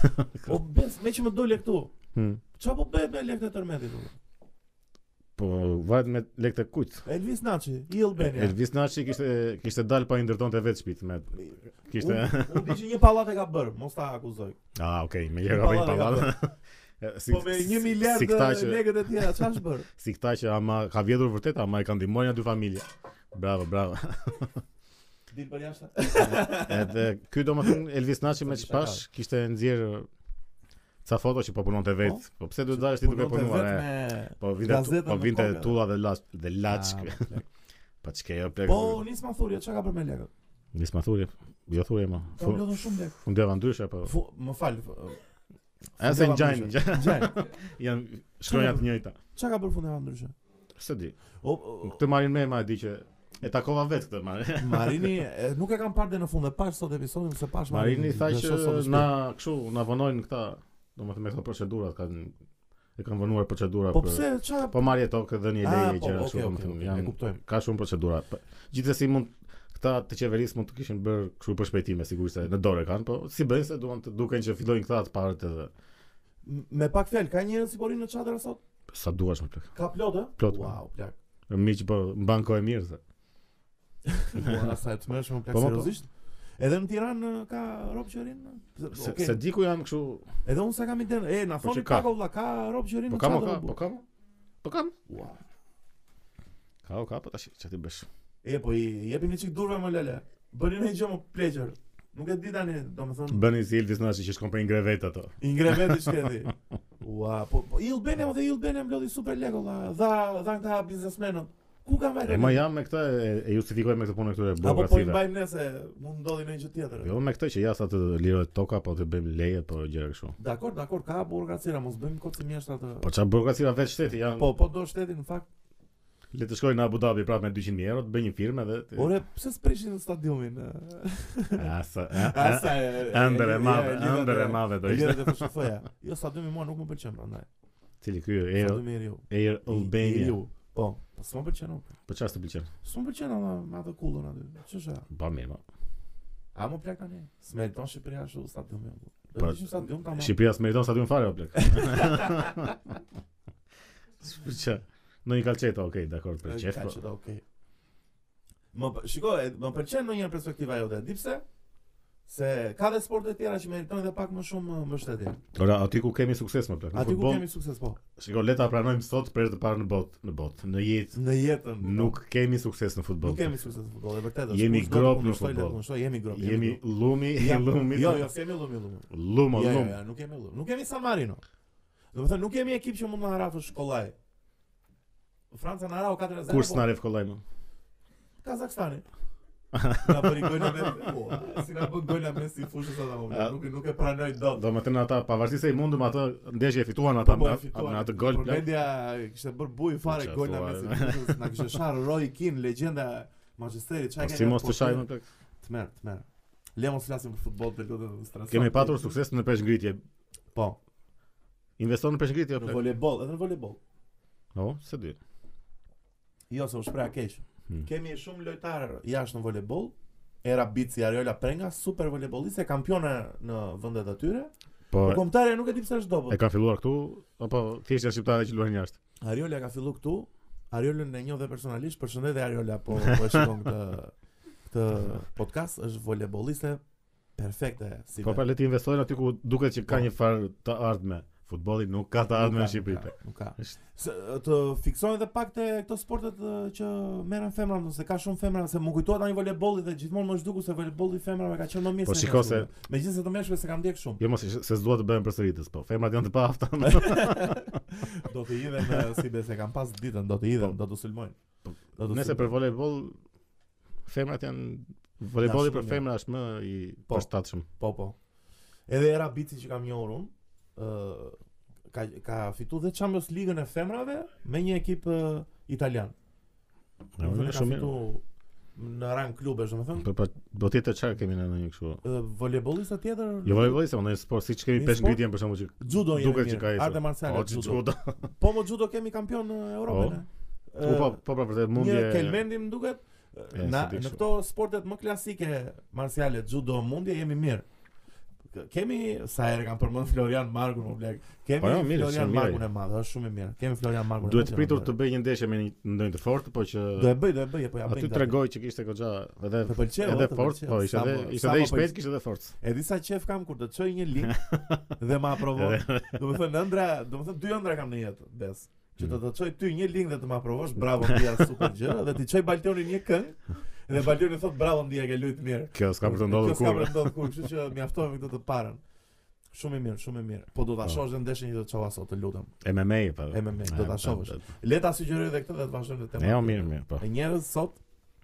B: O bes, me që më dole këtu.
A: Hmm.
B: Çfarë po bëhet me lekët e tërmetit? unë?
A: Po varet me lekë të kujt.
B: Elvis Naçi, i Albania.
A: Elvis Naçi kishte kishte dal pa i ndërtonte vetë shtëpit me kishte
B: Unë unë di që një pallat e ka bërë, mos ta akuzoj.
A: Ah, okay, me jera pa
B: Pallat e ka
A: pallat. Si,
B: Po me 1 miliard
A: si këta që
B: lekët e tjera, çfarë është bërë?
A: si këta që ama ka vjedhur vërtet ama e kanë ndihmuar janë dy familje. Bravo, bravo.
B: Dil për jashtë.
A: Edhe ky domethënë Elvis Naçi me
B: Sa kisha
A: çpash kishte nxjerr ca foto që po punonte vetë. Po pse duhet dalësh ti duke
B: Punonte
A: punuar?
B: vetë
A: e?
B: me
A: Po vinte
B: gazetën
A: po
B: në
A: vinte
B: kokë.
A: tulla dhe laç dhe laç.
B: Ah,
A: kë.
B: më plak.
A: Po çka jo plek.
B: Po, nis ma thurje, çka ka bërë me lekët?
A: nis ma thurje. Jo thurje më.
B: Ka mblodhur shumë lekë.
A: Fundeva ndryshe po.
B: Fu, më fal. f-
A: A se
B: fundeva
A: ngjajnë,
B: ndryshe.
A: ngjajnë.
B: Gjaj.
A: janë shkronja të njëjta.
B: Çka ka bërë fundjava ndryshe?
A: S'e di.
B: O, o
A: Këtë marrin me ma e di që e takova vetë këtë marrin.
B: Marini e, nuk e kam parë deri në fund e pash sot episodin se pash
A: Marini tha
B: dhe shoh sot në shtëpi.
A: që na kështu na vonojnë këta, domethënë me këto procedurat kanë e kanë vonuar procedura
B: Po pse çka
A: Po marrje tokë dhe një leje
B: po,
A: gjëra
B: okay,
A: kështu
B: okay,
A: domethënë
B: okay, e
A: janë
B: kuptojmë.
A: ka shumë procedura. Po, Gjithsesi mund këta të qeverisë mund të kishin bërë kështu për shpejtime sigurisht se në dorë kanë, po si bëjnë se duan të duken që fillojnë këta të parët edhe
B: M- Me pak fjalë, ka njerëz si po rinë në çadër sot?
A: sa duash më plak.
B: Ka plot ë?
A: Plot.
B: Wow, plak.
A: Miq po mban kohë e mirë se.
B: Mua sa e të mërshme më plak
A: Po, po, po.
B: seriozisht. Edhe në Tiranë uh, ka rob qërin?
A: Se,
B: Okej.
A: se di ku janë kështu.
B: Edhe unë sa kam idenë, e, na
A: Po
B: thoni
A: që ka.
B: pak o vlla, ka rob qërin
A: Po kam, o, ka, po kam. o. Po kam.
B: Ua.
A: Ka, o, ka, po tash ç'ti bësh.
B: E, po i jepin një qik durve më lele. Bëni një gjë më pleqër. Nuk e di tani, domethënë,
A: Bëni si Elvis Nashi që shkon për ingrevet ato.
B: i ngre vetë shteti. Ua, po, po i Albania, po dhe i Albania mblodhi super lek valla. Dha, dha nga biznesmenët. Ku kanë
A: E
B: vajtë?
A: ma jam me këtë e, e justifikoj me këtë punë këtyre
B: Apo po i
A: burokracive.
B: mbajmë ne se mund ndodhi në një gjë tjetër.
A: Jo me këtë që ja sa të lirohet toka, po të bëjmë leje, po gjëra kështu.
B: Dakor, dakor, ka burokracira, mos bëjmë kot si mjeshtra të.
A: Po çfarë burokracira vetë shteti janë.
B: Po, po do shteti në fakt.
A: Le të shkojnë në Abu Dhabi prapë me 200 mijë euro, të bëj një firmë edhe të-
B: Ore, pse s'preshin në stadiumin?
A: Asa, a- a-
B: Asa e
A: Ëndër e madhe, ëndër e madhe do ishte.
B: Lidhet e FSHF-ja. Jo, stadiumi mua nuk më pëlqen prandaj.
A: Cili ky Air
B: Stadiumi i Riu.
A: Air
B: I- i
A: Albania.
B: Riu. Po, po s'më pëlqen. o.
A: Po çfarë të pëlqen?
B: S'më pëlqen ama me atë kullën aty. Ç'është? ajo?
A: Ba mirë. ma.
B: A më plak tani? Smelton Shqipëria ashtu stadiumi. o. Do
A: Po,
B: të ishim stadium tamam.
A: Shqipëria s'meriton stadium fare o plek. Për çfarë? Në një kalçeta, okay, dakor, për
B: Ka
A: çef.
B: që
A: po.
B: do, okay. Më p- shiko, e- më pëlqen ndonjëherë perspektiva jote. Di pse? Se ka dhe sporte tjera që meritojnë dhe pak më shumë uh, mbështetje.
A: Ora, aty ku kemi sukses më plek. Në
B: Aty ku
A: futboll,
B: kemi sukses po.
A: Shiko, le ta pranojmë sot për herë të parë në botë, në botë, në jetë.
B: Në jetën. po.
A: Nuk kemi sukses në futboll.
B: nuk kemi sukses në futboll, e vërtetë.
A: Jemi
B: Kur shdo të
A: grop në
B: kundërshtoj, le të
A: futboll.
B: kundërshtoj, Jemi grop.
A: Jemi
B: grop.
A: lumi,
B: Ja,
A: lumi.
B: Jo, jo, s'jemi lumi, lumi.
A: Lum,
B: Jo, jo,
A: lum.
B: jo, nuk kemi lumi. Nuk kemi San Marino. Do të thënë nuk kemi ekip që mund na harafë shkollaj. Franca na harau 4-0.
A: Kur
B: po,
A: s'na ref kollaj më?
B: Kazakstani. Na bëri gojna me Ua, si na bën gojna me si fushës ata më.
A: A-
B: Nuk nuk e pranoj dot.
A: Do më thënë ata, pavarësisht se i mundëm atë ndeshje e fituan
B: Po,
A: ata
B: po,
A: me
B: e fituan.
A: me atë gol. plak. Po,
B: Përmendja kishte bërë buj fare
A: Qa
B: gojna me
A: thua,
B: si
A: e?
B: fushës, na kishte sharë Roy Keane, legjenda e Manchesterit.
A: Po
B: Çfarë
A: si mos të shajmë plak.
B: Tmer, tmer. Le mos flasim për futboll për lutem strason.
A: Kemi patur sukses në peshngritje.
B: Po,
A: Investon në peshngritje
B: në
A: apo?
B: voleybol, edhe në voleybol.
A: Po, se di.
B: Jo, se u shpreh keq.
A: Hmm.
B: Kemi shumë lojtarë jashtë në voleybol. Era Bici, Ariola Prenga, super volejboliste, kampione në vendet e tyre.
A: Po,
B: Po kombëtarja nuk e di pse është dobët.
A: e kanë filluar këtu apo thjesht janë shqiptarë që luajnë jashtë.
B: Ariola ka fillu këtu. Ariolën e njoh dhe personalisht, përshëndetje Ariola, po po e shikon këtë këtë podcast, është volejbolliste perfekte si.
A: Po
B: vetë.
A: pra le të investojnë aty ku duket që ka
B: Po.
A: një farë të ardhme. Futbolli nuk ka të
B: Nuk
A: ardhme
B: ka,
A: në Shqipëri.
B: nuk
A: plak.
B: ka, Nuk ka.
A: Është-
B: Se, të fiksojnë edhe pak te këto sportet eh, që merren femra, se ka shumë femra, se më kujtohet tani volejbolli dhe gjithmonë më zhduku se volejbolli femrave ka qenë më mirë
A: Po,
B: se
A: shiko
B: meshkujve. megjithëse të meshkujve se kam ndjek shumë.
A: Jo mos se s'dua të bëhem përsëritës, po femrat janë të paafta.
B: do të hidhen eh, si bes e kam pas ditën, do të hidhen,
A: Po.
B: do të sulmojnë.
A: Po,
B: Do të
A: Nëse
B: sulmojnë.
A: për voleybol femrat janë voleybolli
B: Janë shumë
A: për
B: jo.
A: femra është më i
B: Po.
A: përshtatshëm.
B: Po, po. Edhe era Bici që kam njohur unë, ë ka ka fituar dhe Champions League-ën e femrave me një ekip ë, italian.
A: Ja,
B: Domethënë,
A: është
B: ka
A: shumë mirë.
B: fituar në rang klubesh, domethënë.
A: Po pra do tjetër çfarë kemi në ndonjë kështu.
B: ë, Volejbollista tjetër
A: Jo voleybol se ndonjë sport siç kemi
B: Një
A: pesh
B: sport?
A: ngritjen për shembull që
B: judo jemi
A: duket që
B: mirë,
A: ka ecur.
B: arte marciale
A: Po,
B: judo.
A: judo.
B: Po mo judo kemi kampion në Europë.
A: Po.
B: ne.
A: Po
B: Ë,
A: po, po pra vërtet mundje.
B: Një kelmendi më duket
A: E,
B: na
A: se di
B: në
A: kështu.
B: këto sportet më klasike marciale, judo, mundje jemi mirë. K- Kemi sa herë kam përmend Florian Margun, më blek. Kemi
A: Po jo, mirë, shumë
B: Florian
A: mirë
B: Margun e madh, është shumë i mirë. Kemi Florian Margun. e
A: Duhet
B: madh që
A: pritur
B: na
A: të
B: bëj.
A: bëj një ndeshje me një- ndonjë të fortë, po që
B: Do e bëj, do e bëj, po ja bëj.
A: aty
B: nga-
A: tregoj që kishte goxha edhe
B: Të pëlqeu, o,
A: edhe
B: të
A: fort,
B: pëlqeu.
A: po ishte
B: Sa
A: edhe
B: po-
A: ishte
B: sa po
A: edhe i shpejt,
B: pëlqeu.
A: kishte edhe forcë.
B: E disa qef kam kur të çoj një link dhe ma aprovon. Do të thënë ëndra, do të thënë dy ëndra kam në jetë, bes. Që
A: Mm.
B: të të çoj ty një link dhe të më aprovosh, bravo Ndia, super gjë, dhe ti çoj Baltionin një këngë dhe Baltioni thot bravo Ndia, ke luajt mirë.
A: Kjo s'ka për të ndodhur
B: Kjo s'ka
A: kur.
B: për të ndodhur kur, kështu që mjaftohem me këtë të parën. Shumë i mirë, shumë i mirë. Po do ta
A: Po.
B: shohësh dhe ndeshjen që do të çova sot, të lutem.
A: MMA po.
B: MMA, do ta
A: Ja,
B: shohësh.
A: po,
B: Le ta sugjeroj edhe këtë dhe të vazhdojmë me
A: po.
B: temën.
A: Jo, mirë, mirë, po.
B: E njerëz sot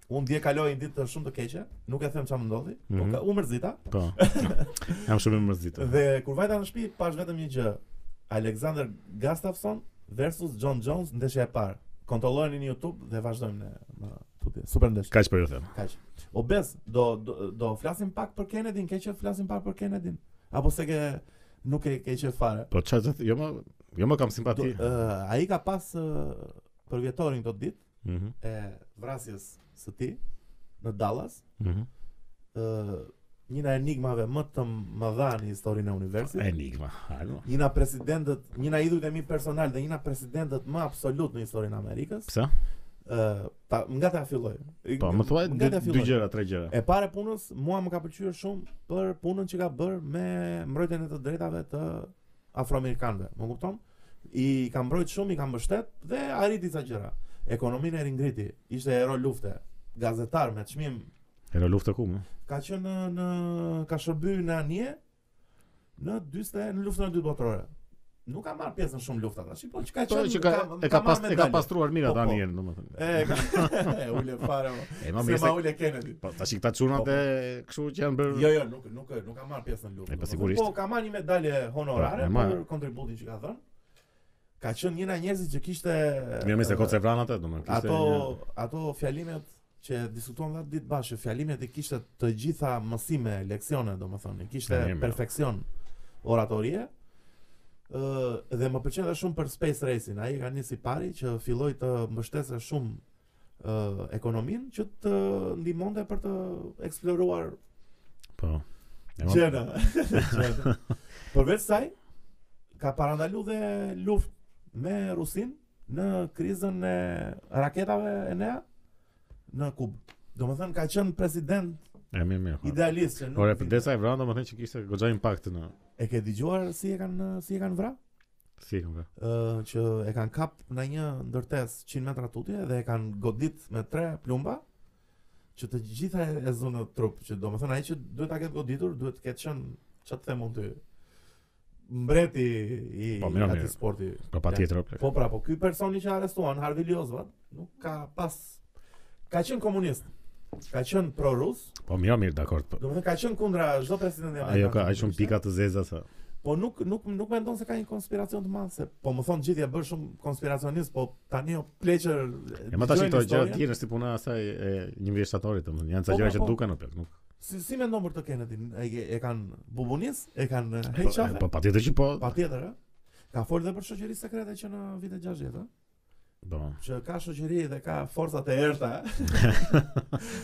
B: unë dje kaloj një ditë të shumë të keqe, nuk e them çfarë më ndodhi, po
A: Mhm.
B: ka- u mërzita,
A: Po. Jam shumë i mërzitur.
B: Dhe kur vajta në shtëpi pash vetëm një gjë. Alexander Gustafsson versus John Jones ndeshja e parë. Kontrollojeni në YouTube dhe vazhdojmë ne në tutje. Super ndeshje.
A: Kaç për ju them.
B: Kaq. Obes, do do, do flasim pak për Kennedy, ke që flasim pak për Kennedy? Apo se ke nuk e ke qef fare?
A: Po çfarë të th- jo më jo më kam
B: Do,
A: simpati.
B: uh, ai ka pas uh, për vjetorin këtë ditë
A: Mhm.
B: e vrasjes së tij në Dallas,
A: Mhm.
B: ë një nga enigmave më të mëdha në historinë e universit.
A: Enigma. Hajde. mo.
B: Njëna presidentët, njëna idhujt e mi personal dhe njëna presidentët më absolut në historinë e Amerikës.
A: Pse?
B: Ë, ë ta nga ta filloj.
A: Po, më thuaj
B: Nga
A: dy
B: ta
A: dy
B: filloj.
A: gjëra, tre gjëra.
B: E para e punës, mua më ka pëlqyer shumë për punën që ka bërë me mbrojtjen e të drejtave të afroamerikanëve, më kupton? I ka mbrojt shumë, i ka mbështet dhe arriti disa gjëra. Ekonominë e ringriti, ishte hero lufte, gazetar me çmim,
A: Era luftë ku, më.
B: ka qenë në, në ka shërby në anije në 40 në luftën e dytë botërore. Nuk ka marrë pjesë në shumë lufta tash, po që ka
A: Po
B: qenë
A: që ka e ka pas e ka pastruar mira
B: Po, po.
A: tani herën, domethënë.
B: E, ka, e ule fare. mo.
A: E ma
B: Se ma
A: mirë se
B: ule Kennedy.
A: po tash këta çunat
B: Po, po.
A: e kështu që janë bërë
B: Jo, jo, nuk nuk nuk ka marr pjesë në luftë.
A: E, po,
B: domethënë.
A: sigurisht.
B: Po ka marrë një medalje honorare
A: Po, normal.
B: për kontributin që ka dhënë. Ka qenë njëra njerëzit që kishte
A: Mirë më se
B: eh,
A: kocë vran atë, domethënë. kishte
B: ato
A: një-
B: ato fjalimet që diskutuam vetë ditë bashkë, fjalimet i kishte të gjitha mësime, leksione, domethënë, i kishte
A: Mirë, mirë.
B: perfeksion oratorie. Ë dhe më pëlqen edhe shumë për space racing. Ai ka nisi pari që filloi të mbështesë shumë ë ekonominë që të ndihmonte për të eksploruar
A: po. E ma-
B: Gjena. Gjena. Përveç saj, ka parandalu dhe luft me Rusin në krizën e raketave e nea në Kubë. Do më thënë ka qenë president
A: E mirë mirë. po.
B: idealist që nuk...
A: Por e përdesa e vran domethënë që kishte goxha impakt në
B: E ke dëgjuar si e kanë si e kanë vra?
A: si e kanë vra.
B: Ë, që e kanë kap në një ndërtesë 100 metra tutje dhe e kanë godit me tre plumba që të gjitha e- e zonë trup, që do më thënë ai që duhet ta ketë goditur, duhet të ketë qenë, që të them unë ty, mbreti i
A: Po, mira,
B: atij
A: mira.
B: sporti.
A: Po patjetër. o, plak.
B: Po pra, po ky personi që arrestuan, Harvey Liozvat, nuk ka pas, ka qenë komunist, ka qenë pro-rus,
A: Po mirë mirë, dakord. po.
B: do më thënë ka qenë kundra çdo presidenti
A: Ajo ka ai
B: që
A: shumë
B: ishte.
A: pika të zeza sa.
B: Po nuk nuk nuk mendon se ka një konspiracion të madh se po më thon gjithë ja bën shumë konspiracionist, po tani o pleqer.
A: E ma tash
B: dëgjojnë
A: këto gjëra
B: historien.
A: tjera si puna e asaj e një vjeç shtatorit, domethënë janë ca
B: Po,
A: gjëra
B: po,
A: që
B: po.
A: duken apo nuk.
B: Si si mendon për të Kennedy? E, e, e kanë bubunis, e kanë
A: Po,
B: heqaf.
A: Po patjetër që po.
B: Patjetër, ë. Ka folë dhe për shoqëri sekrete që në vitet 60, ë.
A: Po.
B: Që ka shoqëri dhe ka forcat e errta, ë.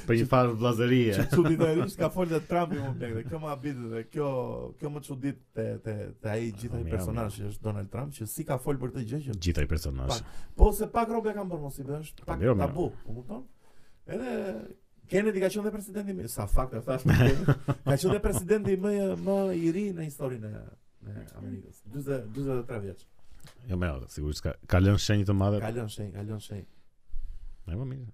A: Për një farë vllazërie.
B: Që çuditërisht ka folë dhe Trumpi më blek, dhe kjo më habit dhe kjo kjo më çudit te te te ai gjithaj
A: Mirë,
B: personazh që është Donald Trump, që si ka folë për këtë gjë që
A: Gjithaj personazh.
B: Po se pak robe kam bërë mos i bësh, pak
A: mirë, mirë.
B: tabu, po kupton? Edhe Kennedy ka qenë dhe presidenti më sa fakt e thash. po ka qenë dhe presidenti më më i ri në historinë e e Amerikës. 40 43 vjeç.
A: Jo më, sigurisht ka ka lënë shenjë të madhe.
B: Ka lënë shenjë, ka lënë shenjë.
A: E më mirë.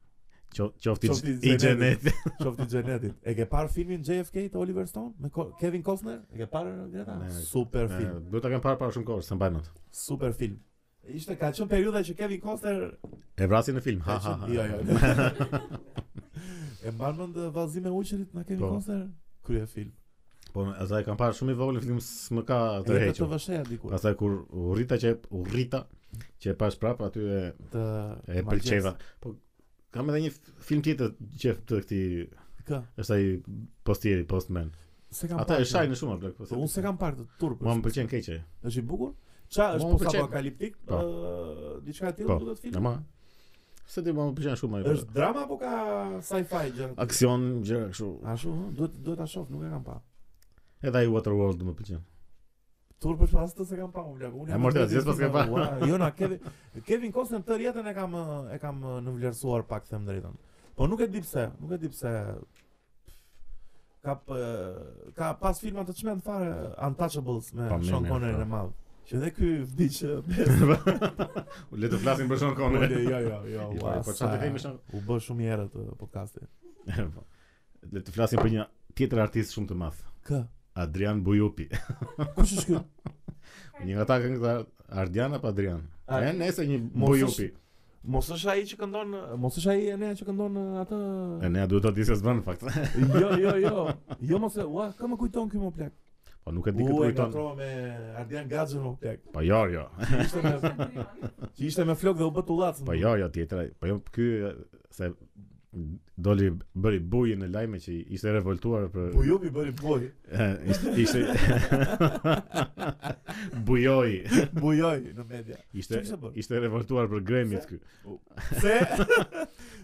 A: Qo- Qofti
B: Qofti
A: gj- i
B: xheneti.
A: xheneti.
B: Qofti xhenetit. E ke parë filmin JFK të Oliver Stone me Co- Kevin Costner? E ke parë Greta?
A: Ne,
B: Super
A: E,
B: film,
A: Eh, Duhet ta kem parë para shumë kohë, s'e mbaj mend.
B: super film. Ishte ka qenë periudha që Kevin Costner
A: E vrasin në film. Ha ha. ha.
B: Jo, jo. e mban mend vallëzime uqërit na Kevin
A: Po.
B: Costner? Krye film.
A: Po ata e kanë parë shumë i vogël në film s'më ka
B: Edhe të të
A: tërhequr.
B: vësheja dikur.
A: Pastaj kur u rrita që e- u rrita që e pash prapë aty e
B: Të
A: Po. e
B: ma
A: pëlqeva. Po kam edhe një f- film tjetër që të këtij
B: gjes. Kë?
A: është ai postieri Postman.
B: Se kam.
A: Ata e
B: parë,
A: shajnë shumë apo
B: Po unë se kam parë të turp.
A: Mua më pëlqen keq ai.
B: Është i bukur? Ça
A: Mua
B: është
A: më
B: post
A: pëlqen.
B: apokaliptik?
A: Po.
B: Ë, diçka e
A: Po,
B: tillë duhet film.
A: Ama se ti mua më pëlqen shumë ai. po.
B: Është drama apo ka sci-fi gjë?
A: aksion gjëra kështu.
B: Ashtu, ëh, duhet duhet ta shoh, nuk e kam parë.
A: Edhe ai Waterworld më pëlqen.
B: Turp është pas të se kam parë, unë blaq. Unë
A: E
B: jam
A: mortë,
B: vetëm
A: zjes pas ke
B: që-
A: parë.
B: Ua, Jo na Kevin Kevin Costner të rjetën e kam ë, e kam ë, nënvlerësuar pak them drejtën. Po nuk e di pse, nuk e di pse ka p- ka pas filma të çmend fare Untouchables me
A: Po, mirë,
B: Sean
A: mirë,
B: Connery
A: po.
B: në madh. Që dhe ky vdiq ë,
A: U le të flasin për Sean
B: ule,
A: Connery.
B: jo jo jo. ua,
A: I pari, po çfarë
B: sa-
A: të kemi Sean?
B: U bë shumë i erët ë, podcasti.
A: Po, Le të flasim për një tjetër artist shumë të madh.
B: Kë?
A: Adrian Bujupi.
B: Kush është ky?
A: Një nga ata këngëtar Ardian apo Adrian?
B: A-
A: E nëse një
B: Mos
A: Bujupi.
B: Mos është ai që këndon, mos është ai Enea që këndon ë, atë
A: E ne duhet ta di se s'bën në fakt.
B: Jo, jo, jo. Jo mos e, ua, kë më kujton ky më plak.
A: Po nuk e di
B: U
A: këtë
B: e
A: kujton.
B: gatrova me Ardian Gaxhën më plak.
A: Po jo, jo.
B: Që ishte me që ishte me flok dhe u bë tullac.
A: Po jo, jo tjetër. ai. Po jo ky e, se doli bëri bujë në lajme që ishte revoltuar për
B: Po ju i bëri boj.
A: E, ishte ishte bujoi.
B: Bujoj në media.
A: Ishte
B: Çfarë kishte bërë?
A: ishte revoltuar për gremit ky.
B: Se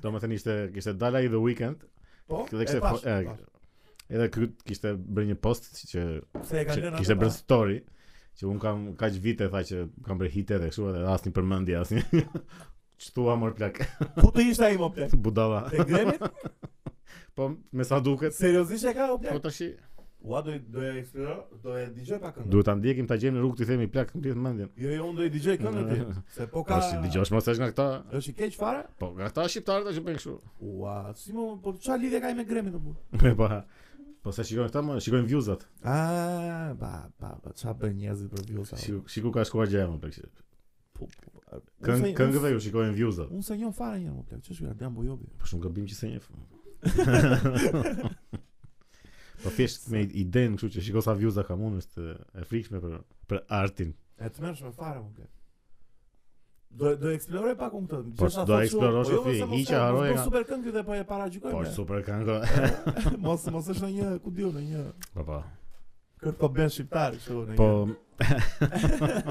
A: Domethënë ishte kishte dalë ai The Weeknd
B: po.
A: Dhe
B: e
A: kishte
B: pash,
A: fo- e,
B: e pash.
A: edhe ky kishte bërë një post që,
B: Se e kanë
A: që
B: lënë.
A: kishte
B: atë
A: bërë
B: pa.
A: story që un kam kaq vite tha që kam bërë hite dhe kështu edhe asnjë përmendje asnjë. Ç'thua mor plak.
B: Ku të ishte ai më plak?
A: Budalla.
B: Te gremit?
A: Po me sa duket.
B: Seriozisht e ka o
A: Po
B: plak?
A: tash i-
B: Ua do i- do e eksploroj, do e dëgjoj pak këngën.
A: duhet ta ndjekim ta gjejmë në rrugë ti themi plak mbledh mendjen.
B: Jo, jo, unë do i dëgjoj këngën ti. Se po ka.
A: Po si dëgjosh mos është nga këta.
B: Është i keq fare?
A: Po nga këta shqiptarët që bën kështu.
B: Ua, si më po çfarë lidhje ka ai me gremin apo?
A: Po po se shikojnë këta më shikojnë viewsat.
B: Ah, ba, ba, ba, çfarë bën njerëzit për views apo?
A: Shiku shiku ka shkuar gjëja më plak.
B: Po, po, po, a- unë
A: Këng
B: se-
A: këngëve ju shikojnë viewsat.
B: Unë se njëm fare njërë, më plak, që shkja, Ardian Bojobi.
A: Po shumë gabim që se njeh. Po thjesht me idenë kështu që shiko sa views-a kam unë është e frikshme për për artin.
B: E të mërshme fare, më plak. Do, do eksploroj pak unë këtë.
A: Po,
B: gjithashtu
A: do
B: thotë
A: eksplorosh,
B: shumë, po jo,
A: Sofi,
B: se mos
A: hiqe,
B: ka- mos
A: haroje
B: bën
A: nga-
B: super këngë dhe po e paragjykoj.
A: Po
B: me.
A: është super këngë.
B: mos mos është në një, ku diu, në një
A: Po po.
B: kërë po bën shqiptar, kështu në
A: Po
B: një.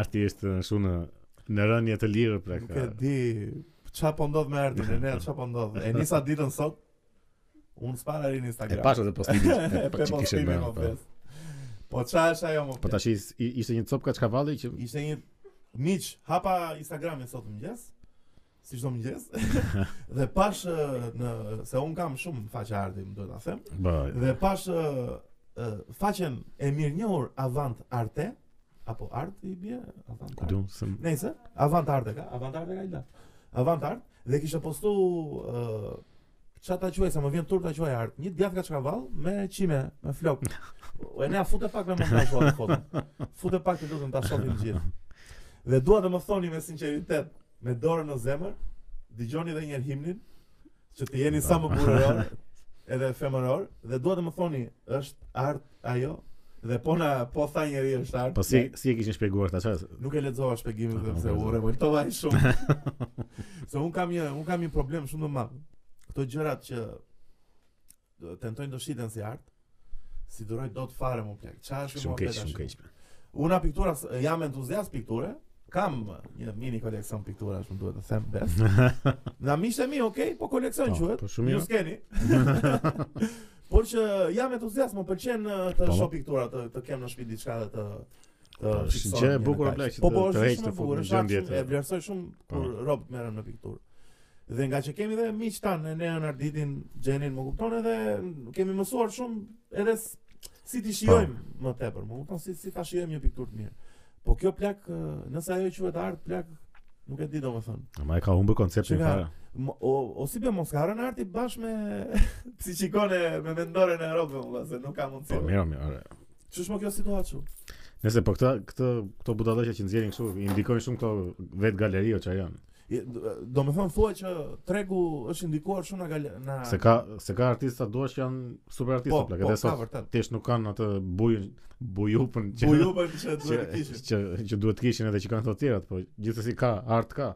A: Arti është shumë në në rënje të lirë pra
B: Nuk
A: ka.
B: e di çfarë po ndodh me Ardin, e ne çfarë po ndodh. E nisa ditën sot. Unë s'para rin
A: E
B: Instagram.
A: pash edhe postimin. e
B: Pe
A: pa që kishe
B: postime
A: më.
B: më
A: po.
B: fes. Po çfarë është ajo më?
A: Po
B: plak?
A: tash is- i- ishte një copka çkavalli që
B: Ishte një miq, hapa Instagramin sot mëngjes, si çdo mëngjes. dhe pash ë, në se un kam shumë faqe arti, më duhet ta them.
A: po
B: Dhe pash ë, ë, faqen e mirënjohur Avant Arte apo Art i bie Avant
A: ku
B: Arte.
A: diun se
B: Nëse Avant Arte ka, Avant Arte ka ila. Avant Art dhe kishte postu ë Qa ta quaj, sa më vjen tur ta quaj art Një djath ka çkavall me qime, me flok E nea fute pak me montazh atë foton Fute pak të lutën ta shohim gjithë Dhe dua të më thoni me sinceritet Me dorën në zemër Dëgjoni edhe njëherë himnin Që të jeni sa më burëror Edhe femëror Dhe dua të më thoni, është art ajo Dhe po na, po tha njeri është art
A: Po si si e kishin shpjeguar këta çfarë?
B: Nuk e lexova shpjegimin
A: Aha,
B: sepse
A: Ah, ok.
B: u revoltova ai shumë. Se un kam një un kam një problem shumë të madh. Këto gjërat që do- tentojnë të shiten si art, si duroj dot fare më plak. Çfarë është
A: Shumë
B: më
A: keq,
B: plak
A: shumë
B: ashtu?
A: keq.
B: Una piktura jam entuziast pikture. Kam një mini koleksion pikturash, më duhet të them bes. Na miqtë e mi, okay, po koleksion
A: Po,
B: quhet.
A: po, shumë
B: ju
A: mirë.
B: s'keni. Por që jam entuziast, më pëlqen uh, të
A: Po, po.
B: shoh piktura, të të kem në shtëpi diçka dhe të të
A: Po, është
B: fiksoj
A: gjë e
B: një
A: bukur,
B: detaj.
A: Blaq, që
B: Po
A: të-
B: po,
A: të
B: është
A: heqë
B: shumë e
A: të fut
B: bukur,
A: në
B: është
A: gjendje
B: shumë-
A: të- Po.
B: e vlerësoj shumë kur robët merren në pikturë. Dhe nga që kemi dhe miq tan, ne Arditin, Xhenin, më kupton edhe mm, kemi mësuar shumë edhe s- si
A: Po.
B: ti shijojmë më tepër, më kupton si si ta shijojmë një pikturë të mirë. Po kjo plak, ë, nëse ajo quhet art, plak nuk e di domethënë.
A: Ma e ka humbur konceptin
B: Çka?
A: fare.
B: Mo- O, o si be mos ka rënë arti bash me psiqikone me mendore në Europë, valla, se nuk ka
A: Po
B: mundësi.
A: mirë, mirë. ore.
B: Ç'është më kjo situatë? çu?
A: Nëse po këta këto këto budallaqe që nxjerrin kështu i ndikojnë shumë këto vet galerio që janë.
B: Je- d- Do me thënë thua që tregu është indikuar shumë nga gale... Nga...
A: Se ka se ka artista duash që janë super artista
B: po,
A: plak,
B: po,
A: edhe
B: ka
A: sot
B: vërtet.
A: thjesht nuk kanë atë bujën, bujupën që
B: Buju për që
A: që,
B: duhet të kishin.
A: që, që duhet të kishin edhe që kanë të tjerat, po gjithsesi ka, art ka.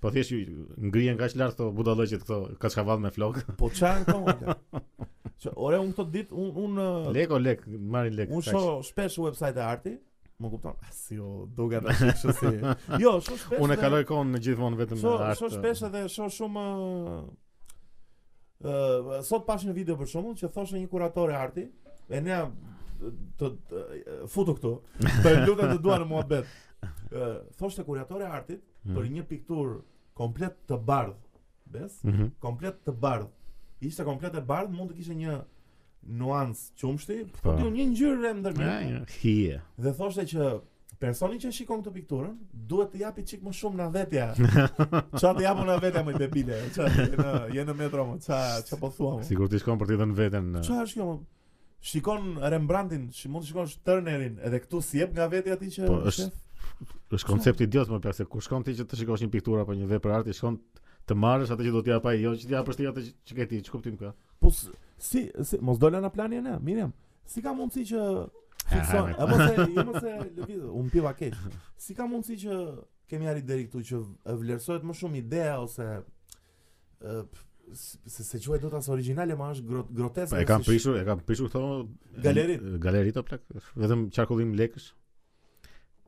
A: Po thjesht ju- ngrihen kaq lart këto budallëqet këto kaçkavall me flok.
B: Po çan këto. Që ore unë këto ditë unë unë
A: Lek o lek, marrin lek.
B: unë
A: kaq.
B: shoh shpesh website e arti, më kupton? Ah, si o duket tash kështu si. Jo, shoh shpesh.
A: unë e
B: dhe-
A: kaloj kohën në gjithmonë vetëm
B: Shoh
A: me art. po.
B: shoh shpesh edhe shoh shumë ë ë, sot pash një video për shkakun që thoshte një kuratore arti, e ne të të- futu këtu. Të lutem të dua në muhabet. Ë thoshte kuratore artit
A: Mhm.
B: për një pikturë komplet të bardh. Bes?
A: Mhm.
B: komplet të bardh. Ishte komplet e bardh, mund të kishte një nuancë qumshti,
A: Po.
B: po diu një ngjyrë e ndërmjet.
A: Ja, ja, hije.
B: Dhe thoshte që personi që shikon këtë pikturën duhet të japi çik më shumë na vetja. Çfarë të japun na vetja më debile? Çfarë je në je në metro më? Çfarë çfarë po thua më?
A: Sigur ti shkon për t'i dhënë veten. në-
B: Çfarë është kjo më? Shikon Rembrandtin, shi mund të shikosh Turnerin, edhe këtu si jep nga vetja ti që
A: Po, është-
B: shef?
A: Është koncept idiot më pak se kur shkon ti që të shikosh një pikturë apo një vepër arti, shkon të marrësh atë që do t'i jap ai, jo që t'i japësh ti atë që- që ke ti, ç'kuptim ka?
B: Po s- si, si mos dola na plani ne, Miriam. Si ka mundësi që fikson,
A: me
B: apo se jo mos e lëviz, u mpiva keq. Si ka mundësi që kemi arritur deri këtu që e vlerësohet më shumë ideja ose ë, p- s- se se quhet dot as origjinale, ma është gro- groteske.
A: Po e
B: si
A: kanë
B: sh-
A: prishur, e kanë prishur këto
B: Galerit.
A: Galerit o plak, vetëm qarkullim lekësh.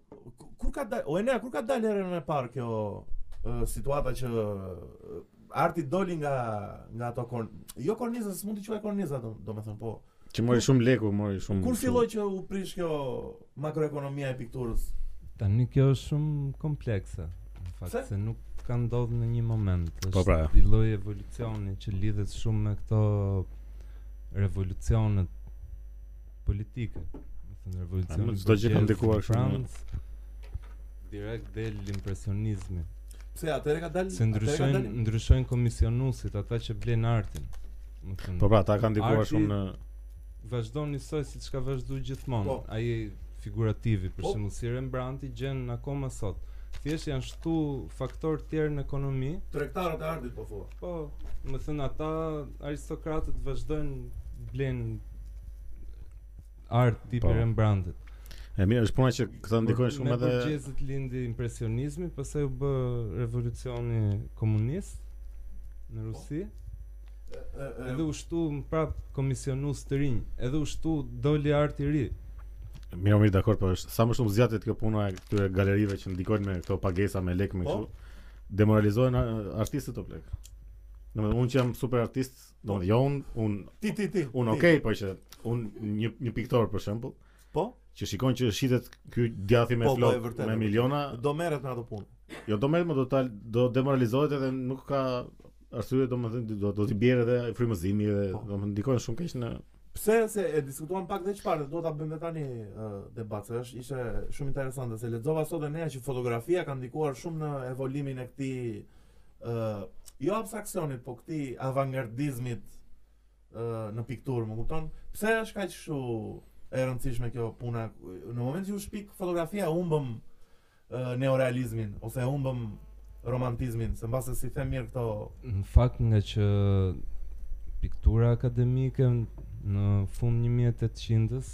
B: Ku- Kur ka dalë, o Enea, kur ka dalë herën e parë kjo ë, situata që ë, arti doli nga nga ato korn, jo korniza, s'mund të quaj korniza do- domethënë, po.
A: Që mori shumë leku, mori Mm, shumë.
B: Kur filloi që u prish kjo makroekonomia e pikturës?
C: Tani kjo është shumë komplekse. fakt
B: Pse?
C: se nuk ka ndodhur në një moment.
A: Po pra.
C: një lloj evolucioni që lidhet shumë me këto revolucionet politike. Do të thënë
A: A,
C: revolucioni.
A: më çdo gjë ka
C: burgjez
A: ndikuar
C: në
A: shumë. jo.
C: Francë, direkt del impresionizmi.
B: Pse atëre ka dalë?
C: Se
B: atëherë
C: ndryshojnë
B: ka dalë-
C: ndryshojnë komisionuesit, ata që blejnë artin. Do të thënë,
A: Po pra, ta kanë ndikuar
C: Arti-
A: shumë në
C: vazhdon njësoj siç ka vazhduar gjithmonë.
B: Po.
C: Ai figurativi, për
B: Po.
C: shembull, si Rembrandt i gjen akoma sot. Thjesht janë shtu faktorë tjerë në ekonomi,
B: tregtarët e artit po thua.
C: po, më thënë ata aristokratët vazhdojnë blenë art tipi
A: Po.
C: Rembrandtit.
A: E mirë, është puna që këta ndikojnë shumë edhe
C: Me burgjezët lindi impresionizmi, pastaj u bë revolucioni komunist në Rusi.
B: Po. E- e- e-
C: Edhe u shtu më prap komisionus të rinj, edhe u shtu doli art i ri.
A: Mirë, mirë, dakor, po është sa më shumë zgjatet kjo puna e këtyre galerive që ndikojnë me këto pagesa me lek me
B: Po.
A: kështu. Demoralizojnë a- artistët o plek. Domethënë unë që jam super artist, domethënë jo unë, unë
B: Ti ti ti.
A: unë
B: ti.
A: okay, po që unë një një piktor për shembull,
B: Po,
A: që shikon që shitet ky djathi me
B: Po, po, e
A: flok
B: vërtet, e
A: me
B: vërtet.
A: miliona,
B: do merret me ato punë.
A: jo do merret, më do ta do demoralizohet edhe nuk ka arsye domethënë do do t'i bjerë edhe frymëzimi dhe
B: Po.
A: domethënë ndikojnë shumë keq në
B: Pse se e diskutuam pak dhe çfarë, do ta bëjmë dhe tani uh, debat, se është ishte shumë interesante se lexova sot e nea që fotografia ka ndikuar shumë në evolimin e këtij uh, jo abstraksionit, po këtij avangardizmit uh, në pikturë, më kupton? Pse është kaq kështu e rëndësishme kjo puna? Në moment që u shpik fotografia humbëm uh, neorealizmin ose humbëm romantizmin, se mbase si them mirë këto
C: Në fakt nga që piktura akademike në fund 1800-s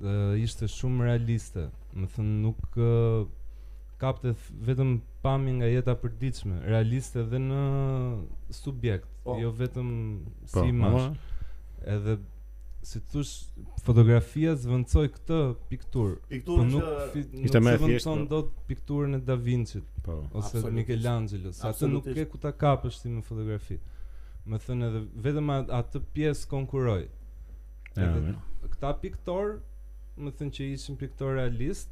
C: ë, ishte shumë realiste. Më thënë nuk ë, kapte th- vetëm pamje nga jeta e përditshme, realiste edhe në subjekt,
B: Po.
C: jo vetëm si
A: po,
C: imazh.
A: ama-
C: Edhe si të thosh fotografia zvendçoi këtë pikturë. Po
B: pikturë
C: nuk
B: që
C: fi-
A: Ishte më e thjeshtë,
C: nuk zvendçon
A: po.
C: dot pikturën e Da Vinci
A: po.
C: ose
B: Absolutisht.
C: Michelangelo, sa atë nuk
B: Absolutisht.
C: ke ku ta kapësh ti me fotografi. Më thënë edhe vetëm a- atë pjesë konkuroj.
A: Ja,
C: Edhe
A: mirë.
C: këta piktor, më thënë që ishin piktor realist,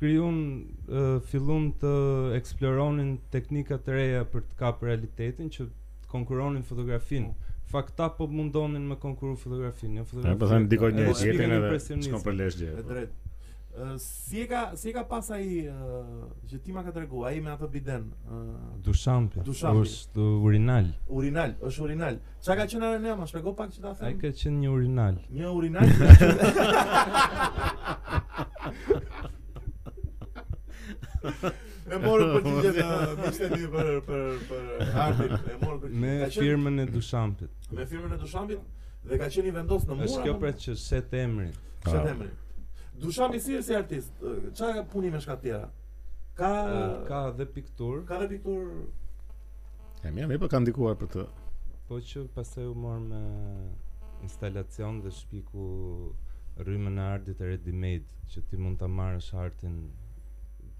C: kryun, uh, fillun të eksploronin teknika të reja për të kapë realitetin, që të konkuronin fotografinë. Fakt ta po mundonin me konkuru fotografinë, jo
A: Ja,
C: fotografinë.
A: po them ndikojnë
C: Edhe
A: njerëz
C: shpikën
A: jetën edhe
C: impresionizmit.
A: shkon për lëshje.
B: E drejt. Ë, si e ka si e ka pas ai ë, që ti ma ka tregu, ai me atë biden, ë,
C: Dushampi,
B: Dushampi.
C: është urinal.
B: urinal, është urinal. Çka ka qenë ne, ma shpjego pak që ta
C: Ai
B: them.
C: ka qenë një urinal.
B: Një urinal. që ka qenë- E morën për të gjithë miqtë e mi për për për artin, e morën për
C: Me
B: Ka qenë
C: firmën e Dushampit.
B: me firmën e Dushambit dhe ka qenë i vendosur në po, mur.
C: Është kjo
B: apo-
C: pra që shet emrin.
B: Çfarë
A: Ah.
B: emri? Dushambi si si artist, ë, çfarë puni me shka tjera? Ka
C: Ë, Ka dhe piktur,
B: ka dhe piktur
A: E mirë, mirë, po kanë ndikuar për të.
C: po që pastaj u morë me instalacion dhe shpiku rrymën e ardit e ready-made, që ti mund ta marrësh artin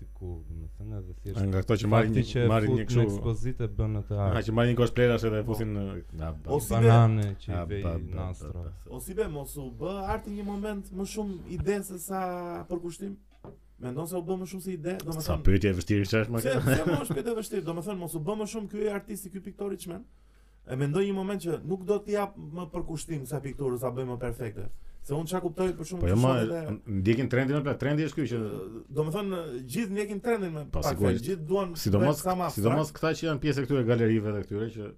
C: diku, domethënë edhe thjesht.
A: Nga këto që marrin
C: Fakti që
A: marrin
C: marrin
A: një
C: në
A: kështu.
C: ekspozitë bën atë
A: Ha
C: art.
A: që marrin një kosh plerash edhe e fusin në na, ba.
B: Ose- si be-
C: Banane që
A: Ah,
C: i vej
A: ba, ba, ba,
C: nastro.
A: ba.
B: O si be, mos u bë arti një moment më shumë ide se sa përkushtim? Mendon se u bë më shumë si ide? Do më
A: Sa
B: thënë,
A: pyetje e vështirë që është më
B: se, se më është pjetë e vështirë, do më thënë, mos u bë më shumë ky artisti, ky piktori që men? E mendoj një moment që nuk do t'i jap më përkushtim sa pikturë, sa bëj më perfekte. Se unë çka kuptoj për shumë
A: Po jo
B: të
A: më
B: shumë edhe-
A: ndjekin trendin apo trendi është ky që
B: do më thënë, gjithë ndjekin trendin me
A: Po,
B: pak fjalë,
A: sigurisht.
B: gjithë duan
A: sidomos
B: bëjnë sa ma
A: sidomos këta që janë pjesë e këtyre galerive dhe këtyre që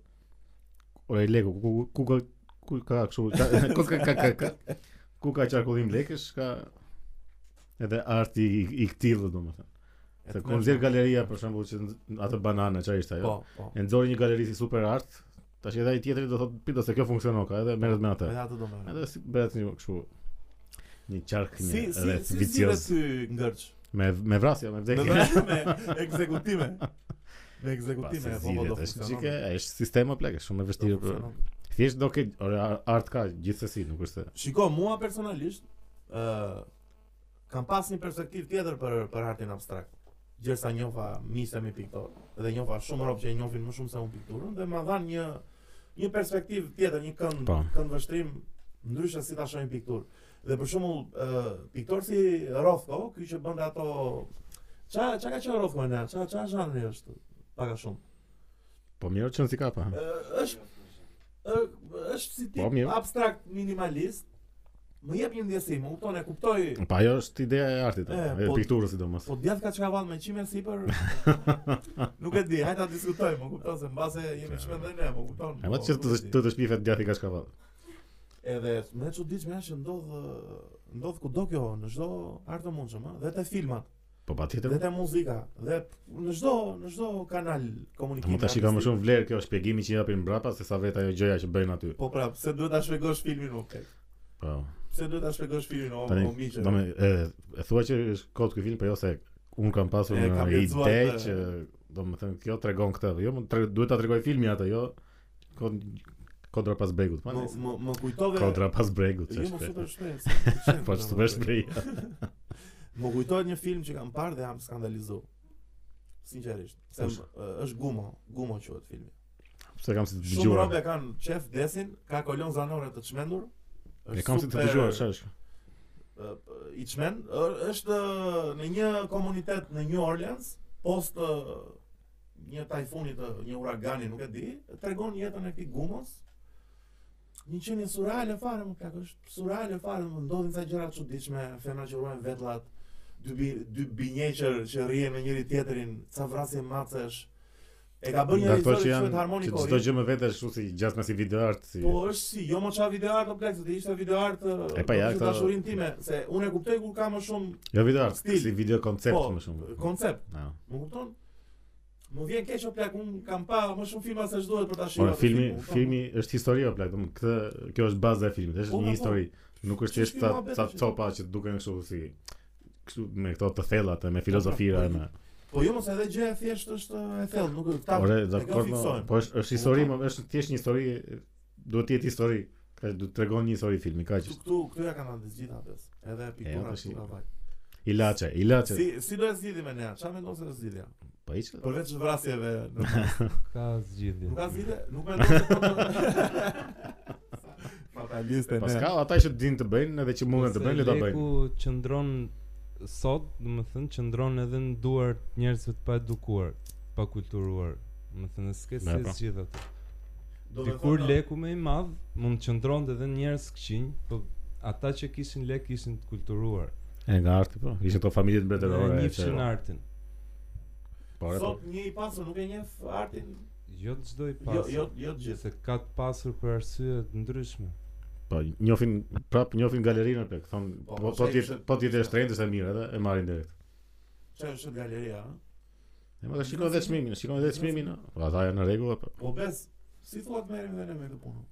A: ora i leku ku ku ku ka- ku ka kështu ka- ku ka ka ka ka- ku ka qarkullim lekësh ka edhe arti i, i këtillë domethënë.
B: abstrakt. E
A: Se
B: të
A: kur nxjerr galeria për shembull që nz- atë banana çfarë ishte ajo?
B: Po, po.
A: E nxori një galeri si super art, tash edhe ai tjetri do thotë pito se kjo funksionon ka, edhe merret me atë.
B: Edhe atë do më.
A: Edhe si bëhet një kështu një qark një
B: Si si
A: rreth
B: si
A: vicioz
B: zgjidhet ky ngërç?
A: me me vrasje, me
B: Me
A: vdekje.
B: vënë me ekzekutime. Me
A: Pa, se
B: ekzekutime po po do
A: zgjidhet, është gjike,
B: funksionon.
A: është sistem o plak, është shumë
B: do
A: e vështirë. për-
B: funksionon.
A: Thjesht do ke ore, a- art ka gjithsesi, nuk është se.
B: Shiko, mua personalisht ë kam pas një perspektivë tjetër për për artin abstrakt. Gjersa njofa miqtë mi piktor dhe njofa shumë rob që e njohin më shumë se unë pikturën dhe ma dhan një një perspektivë tjetër, një kënd
A: Po.
B: kënd vështrim ndryshe si ta shohim pikturë. Dhe për shembull ë piktor si Rothko, ky që bën ato Qa, qa ka qenë Rothmana? Qa, qa zhanri është? Paka shumë.
A: Po mirë që në si kapa.
B: Ë, është, ë, është si
A: Po,
B: tip
A: mirë.
B: abstrakt minimalist. Më jep një ndjesim, më kupton e kuptoj.
A: Pa Po ajo është ideja e artit,
B: E,
A: e, e
B: po-
A: pikturës sidomos.
B: Po djath ka çka vallë me çimen sipër. Nuk e di, hajde ta diskutojmë, më kupton se mbase jemi çimen dhe ne, më kupton.
A: E vetë që
B: po,
A: të
B: nuk e di.
A: të të shpifet djathi ka shkavall.
B: Edhe më e çuditshme është që ndodh ë, ndodh kudo kjo, në çdo art të mundshëm, ë, dhe te filmat,
A: Po patjetër.
B: dhe te muzika, dhe p- në çdo në çdo kanal komunikimi.
A: Mund ta shikoj më
B: artistik.
A: shumë vlerë kjo shpjegimi që japin mbrapa se sa vetë ajo gjëja që bëjnë aty.
B: Po prap, se duhet ta shpjegosh filmin u kek.
A: Po.
B: Se duhet ta shpjegosh filmin o,
A: Tani,
B: o miqë.
A: do me e, e thua që është kot ky film, po jo se un kam pasur
B: E, kam
A: një
B: lexuar
A: ide
B: të-
A: që do të thënë kjo tregon këtë. Jo, mund tre- duhet ta tregoj filmi atë, jo kod kodra pas bregut. Po
B: Më, më, më kujtove...
A: kodra pas bregut.
B: Jo, më
A: ç'është.
B: super shpejt. se-
A: Po është super shprej.
B: Më kujtohet një film që kam parë dhe jam skandalizu. Sinqerisht. Se
A: Kush?
B: më- ë, është Gumo, Gumo quhet filmi.
A: Pse kam si të
B: Shumë
A: dëgjuar?
B: robe kanë qef desin, ka kolon zanore të çmendur.
A: E kam si të dëgjuar, ç'është?
B: ë, ë, i çmend ë, është ë, në një komunitet në New Orleans post ë, një tajfuni të një uragani nuk e di tregon jetën e këtij gumos një qenie surale fare më plak është surale fare më ndodhin ca gjëra të çuditshme femra që ruajnë vetllat dy bi, dy binjeqër që rrihen me njëri tjetrin ca vrasje macesh e ka bërë një
A: Nga ato
B: regjisor
A: që
B: që
A: janë
B: quhet
A: që
B: Harmonico
A: çdo gjë më vetë është kështu si gjasmë si video art si.
B: jo? Po është si, jo më qa video art o plek, se të ishte video art
A: E, pa, ja, këto-
B: dashurin time, se unë e kuptoj kur ka më shumë
A: Jo video art,
B: stil.
A: si video koncept
B: Po,
A: më shumë.
B: koncept,
A: Ja.
B: më kupton? Më vjen keq o plak, unë kam pa më shumë filma se ç'duhet për ta
A: Ora
B: shijuar.
A: Po, filmi, filmi është histori apo plak, domun këtë kjo është baza e filmit,
B: Po,
A: është një
B: po,
A: histori. Nuk është
B: Që
A: thjesht ta
B: filma
A: ta
B: vetë që-
A: copa që duken kështu si kështu me këto të thella të me filozofira e me.
B: Po jo mos edhe gjë e thjesht është e thellë, nuk e ta.
A: Ore,
B: e
A: dakor,
B: kjo fiksojmë.
A: po është është histori, më është thjesht një histori, duhet të jetë histori, ka do të tregon një histori filmi, kaq.
B: Këtu, këtu, këtu ja kanë anë të gjitha pes. Edhe
A: jo,
B: piktura
A: tash i-
B: këtu ka vaj.
A: Ilaçe, ilaçe.
B: Si si do e zgjidhim ne? Çfarë mendon se do zgjidhja?
A: Po hiç.
B: Përveç vrasjeve në
C: Ka zgjidhje.
B: Nuk ka zgjidhje, nuk mendon se po. Fataliste
A: Po
B: ne.
A: s'ka, ata që dinë të bëjnë edhe që mundën të bëjnë, le ta bëjnë.
C: Leku qëndron sot, do të thënë qëndron edhe në duart njerëzve të pa edukuar, pa kulturuar. Do të thënë s'ke
A: Ne,
C: si
A: po.
C: zgjidh atë.
B: Do me
C: Dikur
B: thënë-
C: leku më i madh mund qëndronte edhe njerëz këqinj, po ata që kishin lek ishin të kulturuar.
A: E nga arti po, ishin to familje të mbretërore.
C: Dhe
A: e
C: njifshin
A: që-
C: artin.
A: Po, ore, po.
B: Sot një i pasur nuk e njeh artin.
C: Jo të çdo i
B: Jo,
C: pasur.
B: jo, jo të gjithë.
C: se ka të pasur për arsye të ndryshme.
A: Po, njohin prap njohin galerinë plak, thon
B: Po,
A: po
B: po,
A: po ti
B: se-
A: po ti të shtrenjtë është e mirë edhe e marrin direkt.
B: Çfarë është galeria? ëh?
A: E po, më shikoj edhe çmimin, shikoj edhe çmimin. no? Po ata janë në rregull apo?
B: Po bes, si thua të merrem dhe ne me këtë punë?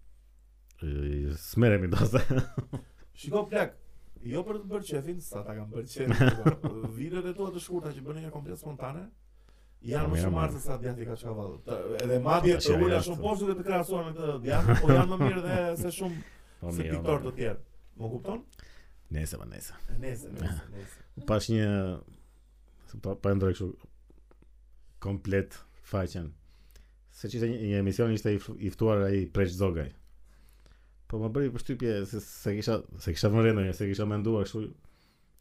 A: E, S'merremi dot.
B: Shiko plak, jo për të bërë qefin, sa ta kam bërë qefin, po, videot e tua të shkurta që bënë një komplet spontane,
A: Po,
B: janë më
A: mirë,
B: shumë
A: mirë.
B: artë se sa djathi ka çka vallë. Të- Edhe madje
A: Tash
B: të
A: janë
B: ula
A: artë.
B: shumë poshtë dhe të krahasuar me të djathi, po janë më mirë dhe se shumë
A: Po
B: se
A: mirë.
B: piktor
A: ora.
B: të tjerë. Më kupton?
A: Nese, po nese.
B: Nese, nese, nese.
A: Pash një se po pa ndroj kështu komplet faqen. Se që ishte një, një emision ishte i f- i ftuar ai Preç Zogaj. Po më bëri përshtypje se se kisha se kisha vënë ndonjë, se kisha menduar kështu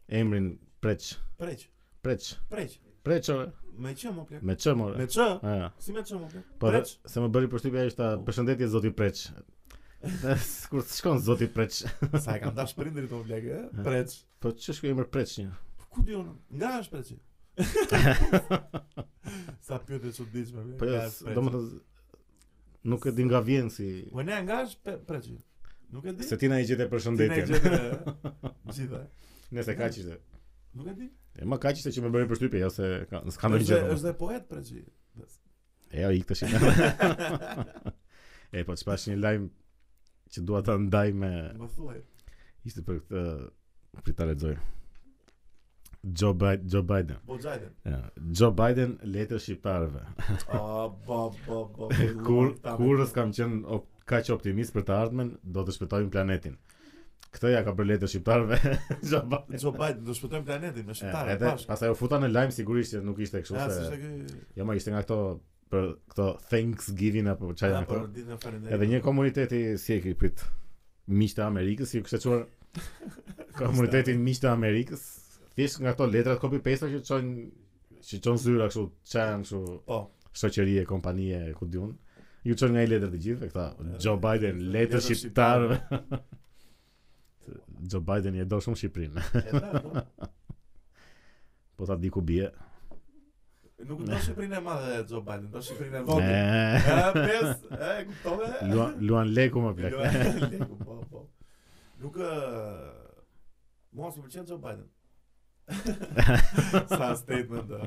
A: emrin Preç,
B: Preq,
A: Preç,
B: preq.
A: Preç ore,
B: Me q më plak.
A: me çm ore.
B: Me q?
A: Ah,
B: Si me q më plak?
A: po dhe-
B: Preq?
A: se më bëri përshtypja ishte përshëndetje zoti Preç. Dhe s- Kur të shkon zoti Preç.
B: Sa e kam dash prindrit më plak, e? Preq.
A: Po ç'është ky emër Preç një?
B: Ku di unë? Nga është preqi? Sa pyetje e çuditshme.
A: Po jo,
B: nga
A: s-
B: është preqi?
A: domethënë nuk e di nga vjen si
B: Po ne nga është pe- preqi? Nuk e di.
A: se ti na i gjetë
B: Ti na e
A: përshëndetjen.
B: gjetë, e? Gjitha.
A: Nëse kaq ishte.
B: Nuk e di.
A: E më kaq ishte që më bëri përshtypje, jo se ka- s'ka ndonjë
B: Është
A: gjë.
B: dhe-
A: domethënë.
B: është dhe poet preqi.
A: E jo, ik tash. E po çfarë një lajm që dua ta ndaj me
B: Më thuaj.
A: ishte për këtë prit ta lexoj. Joe Biden, Joe Biden.
B: Po Biden.
A: Ja, Joe Biden letër shqiptarëve.
B: A ba ba ba.
A: Kur kurrës kam qenë op, kaq optimist për të ardhmen, do të shpëtojmë planetin. Këtë ja ka bërë letër shqiptarëve. Joe Biden.
B: Joe Biden do shpëtojmë planetin me
A: E,
B: shqiptarët
A: Edhe
B: bashkë.
A: pastaj u futa në lajm sigurisht që nuk ishte kështu
B: Ja, s'ishte
A: se
B: ky.
A: jo më ishte nga këto për këto Thanksgiving apo çfarë
B: Ja, po,
A: janë këto.
B: për ditën e falënderimit.
A: Edhe një komuniteti si e ke prit miq të Amerikës, ju kishte çuar komunitetin miq të Amerikës, thjesht nga ato letrat copy paste që çojnë shiqon zyra kështu, çan kështu
B: Po.
A: shoqërie, kompanie, ku diun. Ju çon nga i letër të gjithë, këta Joe Biden, letër
B: letër
A: shqiptarëve. Joe Biden i e do shumë Shqipërinë.
B: E da, po.
A: Po ta di ku bie.
B: Nuk do Shqipërinë e madhe Joe Biden, do Shqipërinë e vogël.
A: Ne.
B: E pes, e kuptove?
A: Luan, luan leku më plak.
B: Lua- Leku, po, po. Nuk ë mua s'u pëlqen Joe Biden. Sa statement. ë.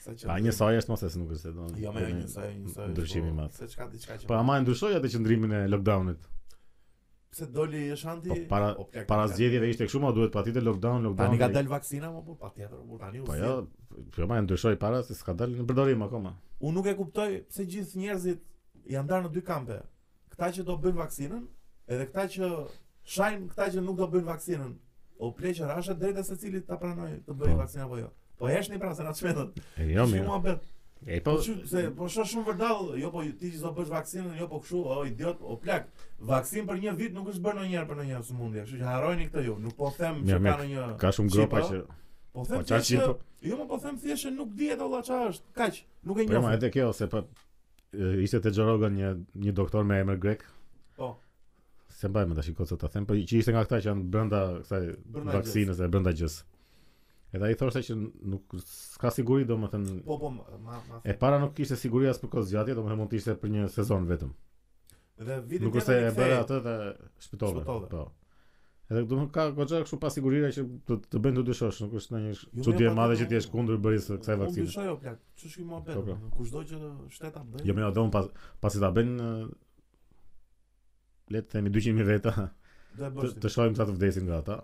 B: Sa që.
A: Pa njësoj është mos e se nuk është se do.
B: Jo, më njësoj, njësoj.
A: Ndryshimi
B: po,
A: i madh.
B: Se çka diçka që.
A: Po ama e ndryshoi atë qëndrimin e lockdownit.
B: pse doli Shanti?
A: Po, para-
B: O, plak,
A: Para
B: plak.
A: zgjedhjeve ishte kështu, ma duhet patjetër lockdown, lockdown.
B: Tani ka
A: like-
B: dal vaksina, më po patjetër, po tani u.
A: Po
B: zgjidh.
A: jo, po ma e ndryshoi para se s'ka dalë në përdorim akoma.
B: Unë nuk e kuptoj pse gjithë njerëzit janë ndarë në dy kampe. Këta që do bëjnë vaksinën, edhe këta që shajnë këta që nuk do bëjnë vaksinën. O pleqër, është e drejta secilit ta pranoj të bëjë
A: Po.
B: vaksinën apo jo. Po heshni pra se na çmendet.
A: E jo mirë.
B: mua
A: E
B: Po
A: po
B: çu- se po shoh shumë vërdall, jo po ti që do bësh vaksinën, jo po kështu, o idiot, o plak. Vaksin për një vit nuk është bërë ndonjëherë për ndonjë sëmundje, kështu që harrojini këtë ju. Nuk po them
A: Mirë,
B: që ka
A: mirë.
B: ndonjë
A: ka shumë gropa që
B: Po them
A: Po, qa
B: thjesht,
A: qipë?
B: jo më po them thjesht që nuk dihet olla çfarë është. Kaq, nuk e
A: po ma
B: njoh.
A: edhe kjo se po e, ishte te Xhorogan një një doktor me emër grek.
B: Po.
A: Se mbaj më tash i kocë ta them, po që ishte nga këta që janë brenda kësaj
B: Brenda
A: vaksinës dhe brenda gjës. Edhe ai thoshte që nuk s'ka siguri domethënë
B: Po po, ma ma- ma
A: E para nuk kishte siguri as për kohë zgjatje, domethënë mund të ishte për një sezon vetëm.
B: Dhe vitin
A: Nuk është se e bëra atë dhe shpëtove.
B: Shpëtove.
A: Po. Edhe domethënë ka goxha kështu pa sigurinë që të, të bëjnë të dyshosh, nuk është
B: Jo,
A: ndonjë
B: jo,
A: çudi e
B: pa
A: madhe
B: tjetër,
A: që ti je
B: unë-
A: kundër bërjes së kësaj
B: Unë
A: vaksine.
B: dyshoj o plak, që shki mua
A: Po, po.
B: betë, kushdo që shteta bëjnë.
A: Jo, më do pas pasi ta bën le të themi 200 mijë veta,
B: do e
A: të,
B: bësh. ti.
A: të shohim sa të vdesin nga ata.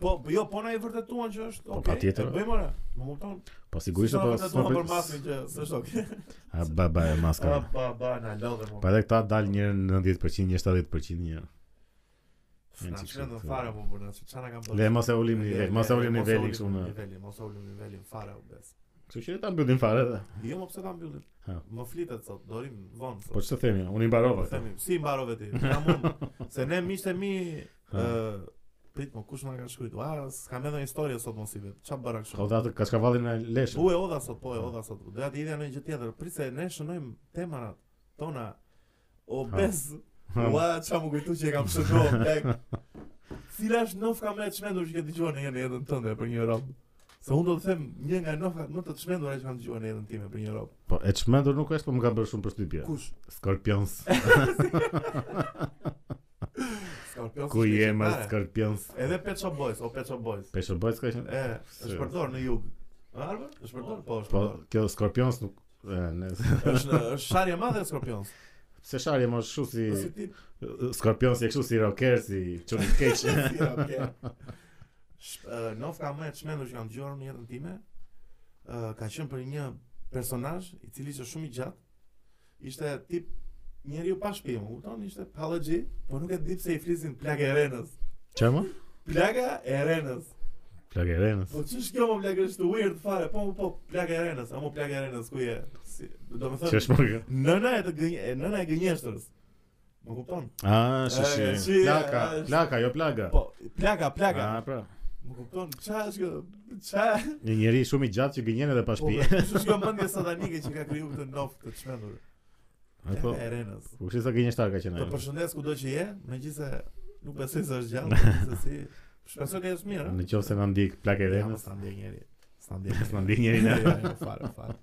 B: Po, po, jo, po na i vërtetuan që është,
A: Po,
B: okay,
A: patjetër.
B: e bëjmë ora. Më kupton?
A: Po sigurisht
B: Si
A: ato
B: na vërtetuan për
A: s'po.
B: masën që s'është okay.
A: A ba ba e
B: A
A: maskara.
B: ba ba na lodhe më.
A: Po edhe këta dal një 90%, një 70%, një.
B: Po, Na
A: Në
B: çfarë do
A: çikë.
B: fare po po, na çana kam bërë.
A: Le mos e ulim nivelin, mos e ulim nivelin kështu në.
B: Niveli, mos e ulim nivelin fare u bes.
A: Kështu që ta mbyllim fare. dhe.
B: Jo, më pse ta mbyllim?
A: Ha.
B: Më flitet sot, dorim vonë. sot.
A: Po ç'të themi, unë i mbarova.
B: Po themi, si mbarove ti? Na mund. Se ne miqtë e mi
A: Ha.
B: ë prit më kush na ka shkruajt. Ua, s'kam edhe një histori sot mos i vet. Ç'a bëra
A: Ka
B: kështu?
A: datë kaskavallin e leshën.
B: U e odha sot, po e odha sot. Doja të idhja në një gjë tjetër. Prit se ne shënojmë temat tona. O
A: Ha.
B: bes. Ua, ç'a më kujtu që e kam shënuar tek. Cila është nofka më e çmendur që ke dëgjuar në një jetën tënde për një rob? Se unë do të them një nga nofkat më të çmendura që kam dëgjuar në jetën time për një rob.
A: Po e çmendur nuk është, po më ka bërë shumë përshtypje.
B: Kush?
A: Scorpions.
B: Scorpions.
A: Ku
B: ishte
A: je më
B: shqiptare.
A: Scorpions?
B: Edhe Pet Shop Boys, o Pet Shop Boys.
A: Pesho bëj s'ka qenë.
B: E, është përdor në jug. Arbe? Është përdor? Po, është
A: Po
B: përdor.
A: kjo Scorpions nuk e, ne,
B: Është në- është sharja e madhe e Skorpions.
A: se sharje më shumë si
B: Si ti
A: Scorpions je kështu si rocker si Johnny Cage.
B: si okay. Nofka më e çmendur që kam dëgjuar në jetën time, ë, ka qenë për një personazh i cili ishte shumë i gjatë. Ishte tip njeriu pa shtëpi, më kupton? Ishte pallaxhi, po nuk e di pse i flisin plagë e Renës.
A: Çfarë më?
B: Plaga e Renës.
A: Plagerenës.
B: Po ç'është kjo më plagë është weird fare. Po po, plaga e Renës, amo plaga e Renës ku je? Si, do të
A: Që
B: thonë
A: është më kjo?
B: Nëna po, e të gënje, e nëna e gënjeshtërës. Më kupton?
A: A,
B: E,
A: shi
B: si,
A: shi. Ah, Plaka,
B: e, është-
A: plaka, jo plaga.
B: Po, plaka, plaka.
A: A, pra.
B: Më kupton? Qa është kjo? Qa?
A: Një njeri shumë i gjatë që gënjen edhe pa
B: Po,
A: shtëpi.
B: kush është kjo mendje satanike që ka kriju këtë nof të çmendur?
A: Po,
B: Plaka e Po, Renës.
A: po kush sa gënjeshtar ka qenë
B: Të
A: ai?
B: përshëndes kudo që je, megjithëse nuk besoj se është gjallë, megjithëse si shpresoj që është mirë.
A: Në qoftë se na ndjek
B: Renës
A: Plagerenës,
B: sa ndjen njëri. Sa ndjen.
A: s'na ndjek njeri
B: Ja,
A: na.
B: ja, ja, fare, fare.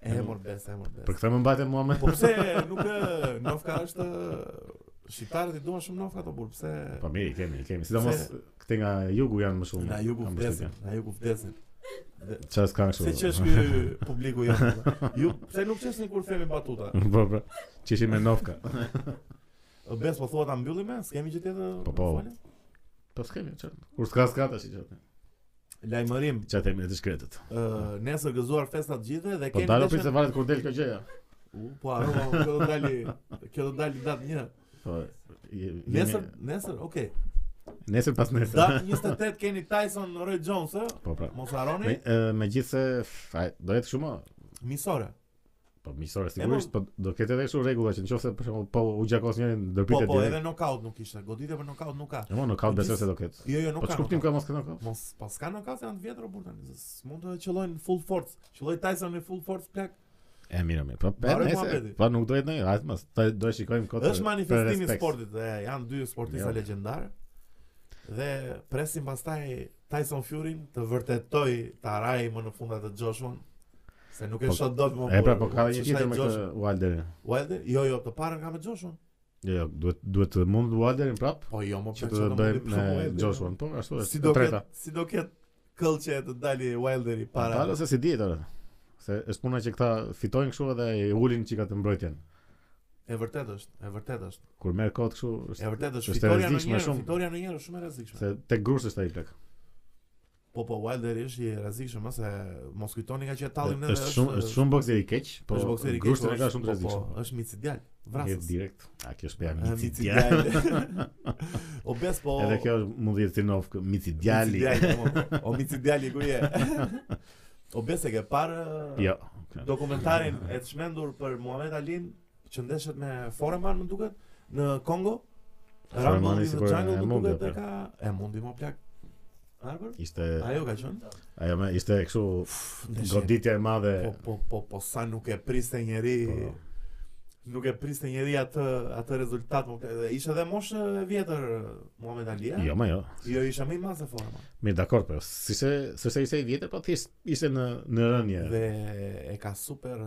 B: E mor bes, e mor
A: Për
B: bes.
A: këtë më mbajte mua më.
B: Po pse nuk e, nofka është shqiptarët i duan shumë nofka ato burr, pse
A: Po mirë, i kemi, i kemi. Sidomos këte nga jugu janë më shumë.
B: Na jugu
A: kam
B: vdesin,
A: përshtypjen.
B: na jugu vdesin.
A: Çfarë s'ka kështu?
B: Se që është ky publiku jo. Ju pse nuk çesni kur themi batuta?
A: Po, po. Qishin me Novka.
B: O, Bes po thua ta mbyllim me, s'kemi gjë tjetër.
A: Mm. Po, po.
B: fole?
A: Po s'kemi çfarë. Kur s'ka s'ka tash çfarë.
B: Lajmërim,
A: Çfarë themi të shkretët.
B: ë, nesër gëzuar festa të gjithë dhe
A: Po
B: kemi
A: dalo
B: dashur-
A: pse varet kur del kjo gjëja.
B: U, Po harrova, kjo do dali, kjo do dali datë 1.
A: Po. je-
B: Nesër,
A: jemi-
B: nesër, okay.
A: nesër pas nesër.
B: Datë 28 keni Tyson Roy Jones, ë?
A: Po pra.
B: Mos
A: Me,
B: harroni,
A: e, megjithse f- ai, do jetë shumë
B: misore.
A: Po miqësore sigurisht, po do ketë edhe kështu rregulla që nëse për shembull po u gjakos njërin
B: Po,
A: dërpitet
B: po, edhe
A: direkt.
B: knockout nuk ishte. Goditje për knockout nuk ka.
A: Jo, po, nokaut besoj se do ketë.
B: Jo, jo, nuk
A: Po
B: ka.
A: ç'kuptim
B: knockout.
A: ka mos kenë nokaut?
B: Mos, pas ka knockout janë të vjetra burr tani. S'mund të qellojnë full force. Qelloi Tyson në full force plak.
A: E mirë, mirë. Po
B: Mbaroj
A: nëse
B: muhabeti.
A: po nuk dohet ndonjë, as mos. Ta- Do e shikojmë kot.
B: Është manifestimi i sportit dhe janë dy sportista
A: Po Jo.
B: legjendar dhe presim pastaj Tyson Fury-n të vërtetoj të araj më në fundat të Joshua se nuk e
A: Po,
B: shot dot më
A: E pra,
B: burr.
A: po ka dhe një
B: Që
A: tjetër
B: shaj
A: me
B: Joshua.
A: këtë Wilderin.
B: Wilder, jo jo, të parën ka me Joshua.
A: Jo, jo, duhet duhet të mund Wilderin prap
B: Po jo, më
A: që
B: pëlqen
A: të
B: më
A: bëjmë
B: shumë
A: me
B: Wilder.
A: Joshua, po ashtu është.
B: jo. Si do
A: e treta.
B: ket, si do ket këllçe të dali Wilderi para.
A: Para se si dihet ora. Se është puna që këta fitojnë kështu edhe i ulin çika të mbrojtjen.
B: E vërtet është, e vërtet është.
A: Kur merr kot kështu është
B: E vërtet është
A: Është e
B: fitoria në
A: rrezikshme
B: njëherë,
A: shumë.
B: fitoria në njëherë është shumë e rrezikshme.
A: se tek grush është ai plak.
B: Po po Wilder është i rrezikshëm, ëh, se mos kujtoni nga që e tallim neve.
A: Është shumë është shumë bokseri i keq, po
B: është bokseri i keq,
A: grushtin
B: po
A: e ka
B: është-
A: shumë
B: po,
A: të rrezikshëm.
B: Po, është mici djal.
A: Vjet
B: Vrasës.
A: direkt. A kjo është ja
B: Ë,
A: mici
B: mici
A: djali.
B: djal. o bes po.
A: Edhe kjo është- mund të jetë sinov kë- mici djali.
B: Mici djali, mo, po, O mici djali ku je? o bes e ke parë
A: Jo.
B: dokumentarin e të shmendur për Muhammed Alin që ndeshet me Foreman më duket në Kongo?
A: Foremani
B: Rumble in the
A: sikur e
B: Jungle më
A: mundi,
B: duket e
A: apo? jo?
B: ka e mundi më plak. Arbër?
A: Ishte
B: Ajo ka qenë.
A: ajo më ishte kështu
B: ndeshje.
A: goditja e madhe.
B: Po po po po sa nuk e priste njeri
A: Po.
B: nuk e priste njeri atë atë rezultat më plak. Dhe ishte edhe moshë e vjetër Muhammed Ali. a?
A: Jo, më jo.
B: Jo isha më i madh se forma.
A: Mirë, dakor, po si se se se ishte i vjetër, po thjesht ishte në në rënje.
B: Dhe e ka super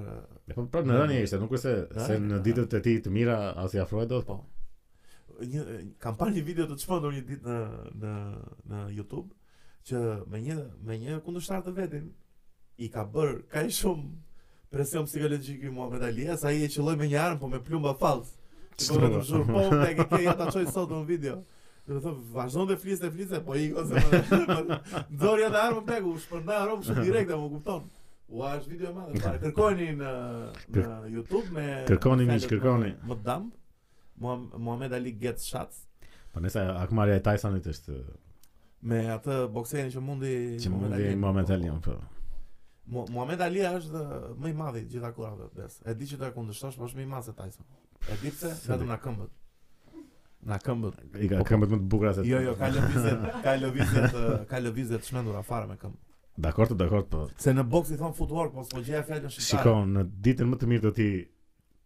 A: E Po prapë në rënje ishte, nuk është se se
B: Rënje,
A: në
B: aha.
A: ditët e tij të mira as i afrohet dot.
B: po. Një kam parë një video të çmendur një ditë në në në YouTube që me një me një kundërshtar të vetin i ka bër kaq shumë presion psikologjik i Muhammed Ali sa ai e qelloi me një armë po me plumba fals. Që po vetëm shumë po me ke ja ta çoj sot në video. Do të thonë vazhdon të fliste fliste, po i ose dorja të armën plak u shpërnda rom shumë direkt apo kupton. Ua është video e madhe, pare. Kërkojeni në në YouTube me
A: Kërkoni,
B: me
A: miq,
B: fjalët
A: kërkoni.
B: Më më dam. Muham- Muhammed Ali gets shots
A: Po nëse akmarja e Tysonit është
B: me atë bokserin që mundi
A: që mundi
B: Aliun.
A: Muhammed Ali, po.
B: Mu- Muhammed Ali është më i madhi gjitha kurave, bes. E di që ta kundërshtosh, po është më i madh se Tyson. E di pse,
A: Se
B: vetëm
A: di.
B: na këmbët. Na këmbët.
A: I ka
B: Po, po.
A: këmbët më të bukura se.
B: Jo, jo, ka lëvizje, ka lëvizje, të- ka lëvizje të shmendura fare me këmbë.
A: Dakor, të dakor, po.
B: Se në boks i thon footwork, po s'po gjeja fjalën shqiptare.
A: Shikon, në ditën më të mirë të ti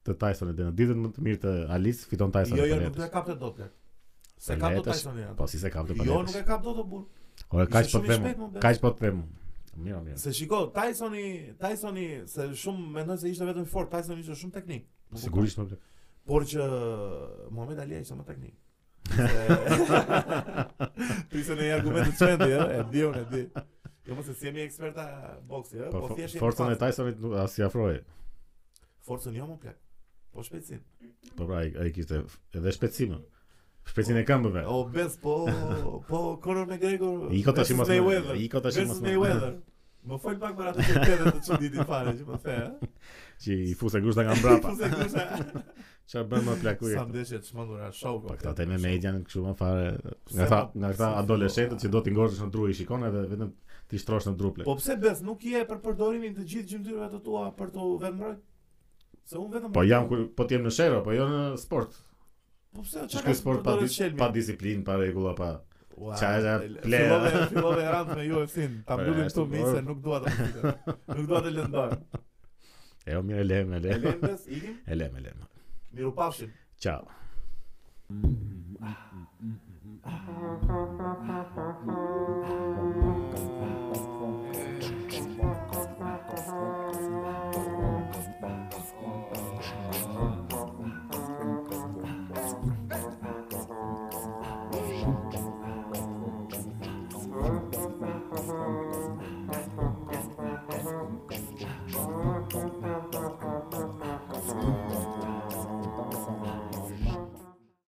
A: të Tysonit dhe në ditën më të mirë të Alis fiton Tyson.
B: Jo, jo, nuk do e kapte dot lek. Se
A: Për
B: ka dot
A: letësh?
B: Tyson janë.
A: Po si se kapte pa.
B: Jo, nuk e kap dot o burr.
A: Ora
B: Ishte
A: kaq po
B: shumë i
A: them.
B: shpejt, më, bler.
A: Kaq po them. Mirë, mirë.
B: Se shiko, Tysoni, Tysoni se shumë mendoj se ishte vetëm i fort, Tysoni ishte shumë teknik. Nuk
A: Sigurisht më. bler.
B: kuptoj. Por që Muhammed Ali ishte më teknik. Se- Prisë në një argument të çmendur, jo? e di unë, e di. Jo mos se si jemi eksperta boksi, jo?
A: Po
B: po
A: fo-
B: thjesht jemi
A: forcën e
B: fans.
A: Tysonit nuk as i afrohej.
B: Forcën jo më plak. Po shpejtësin.
A: Po pra, ai- ai kishte edhe shpejtësimin. Shpejtësinë e këmbëve.
B: O bes po po Conor McGregor.
A: Iko tash
B: versus
A: mos.
B: Mayweather.
A: Iko tash
B: Versus
A: mos.
B: Mayweather. Më fol pak për atë që tëre të çudit i fare që më the. eh? Po ë?
A: Që i fuse grushta nga mbrapa.
B: Pse kusha?
A: Çfarë bën më plaku
B: Sa
A: këta?
B: ndeshje të shmangura show.
A: Po këta te me median kështu më fare
B: Se
A: nga këta
B: po-
A: nga këta
B: se po-
A: adoleshentët që do t'i ngordhësh në dru i shikon edhe vetëm ti shtrosh në dru plak.
B: Po pse bes nuk je për përdorimin të gjithë gjymtyrëve të tua për të vetmbrojt? Se unë vetëm
A: Po jam ku po t'jem në shero, po jo në sport.
B: Po pse
A: Që
B: çka
A: ky sport pa dis-
B: shelmi?
A: pa disiplinë, pa rregulla, pa
B: Ua,
A: Qa e da- ple-
B: Fillove fillove rant me UFC-n. Ta
A: Po,
B: mbyllim
A: ashtu,
B: këtu miq se nuk dua të mbitem. Nuk dua të lëndoj.
A: e jo mirë e lem, e lem.
B: Elendës ikim,
A: E lem, e lem.
B: miru pafshin.
A: Ciao.
D: Mm-hmm.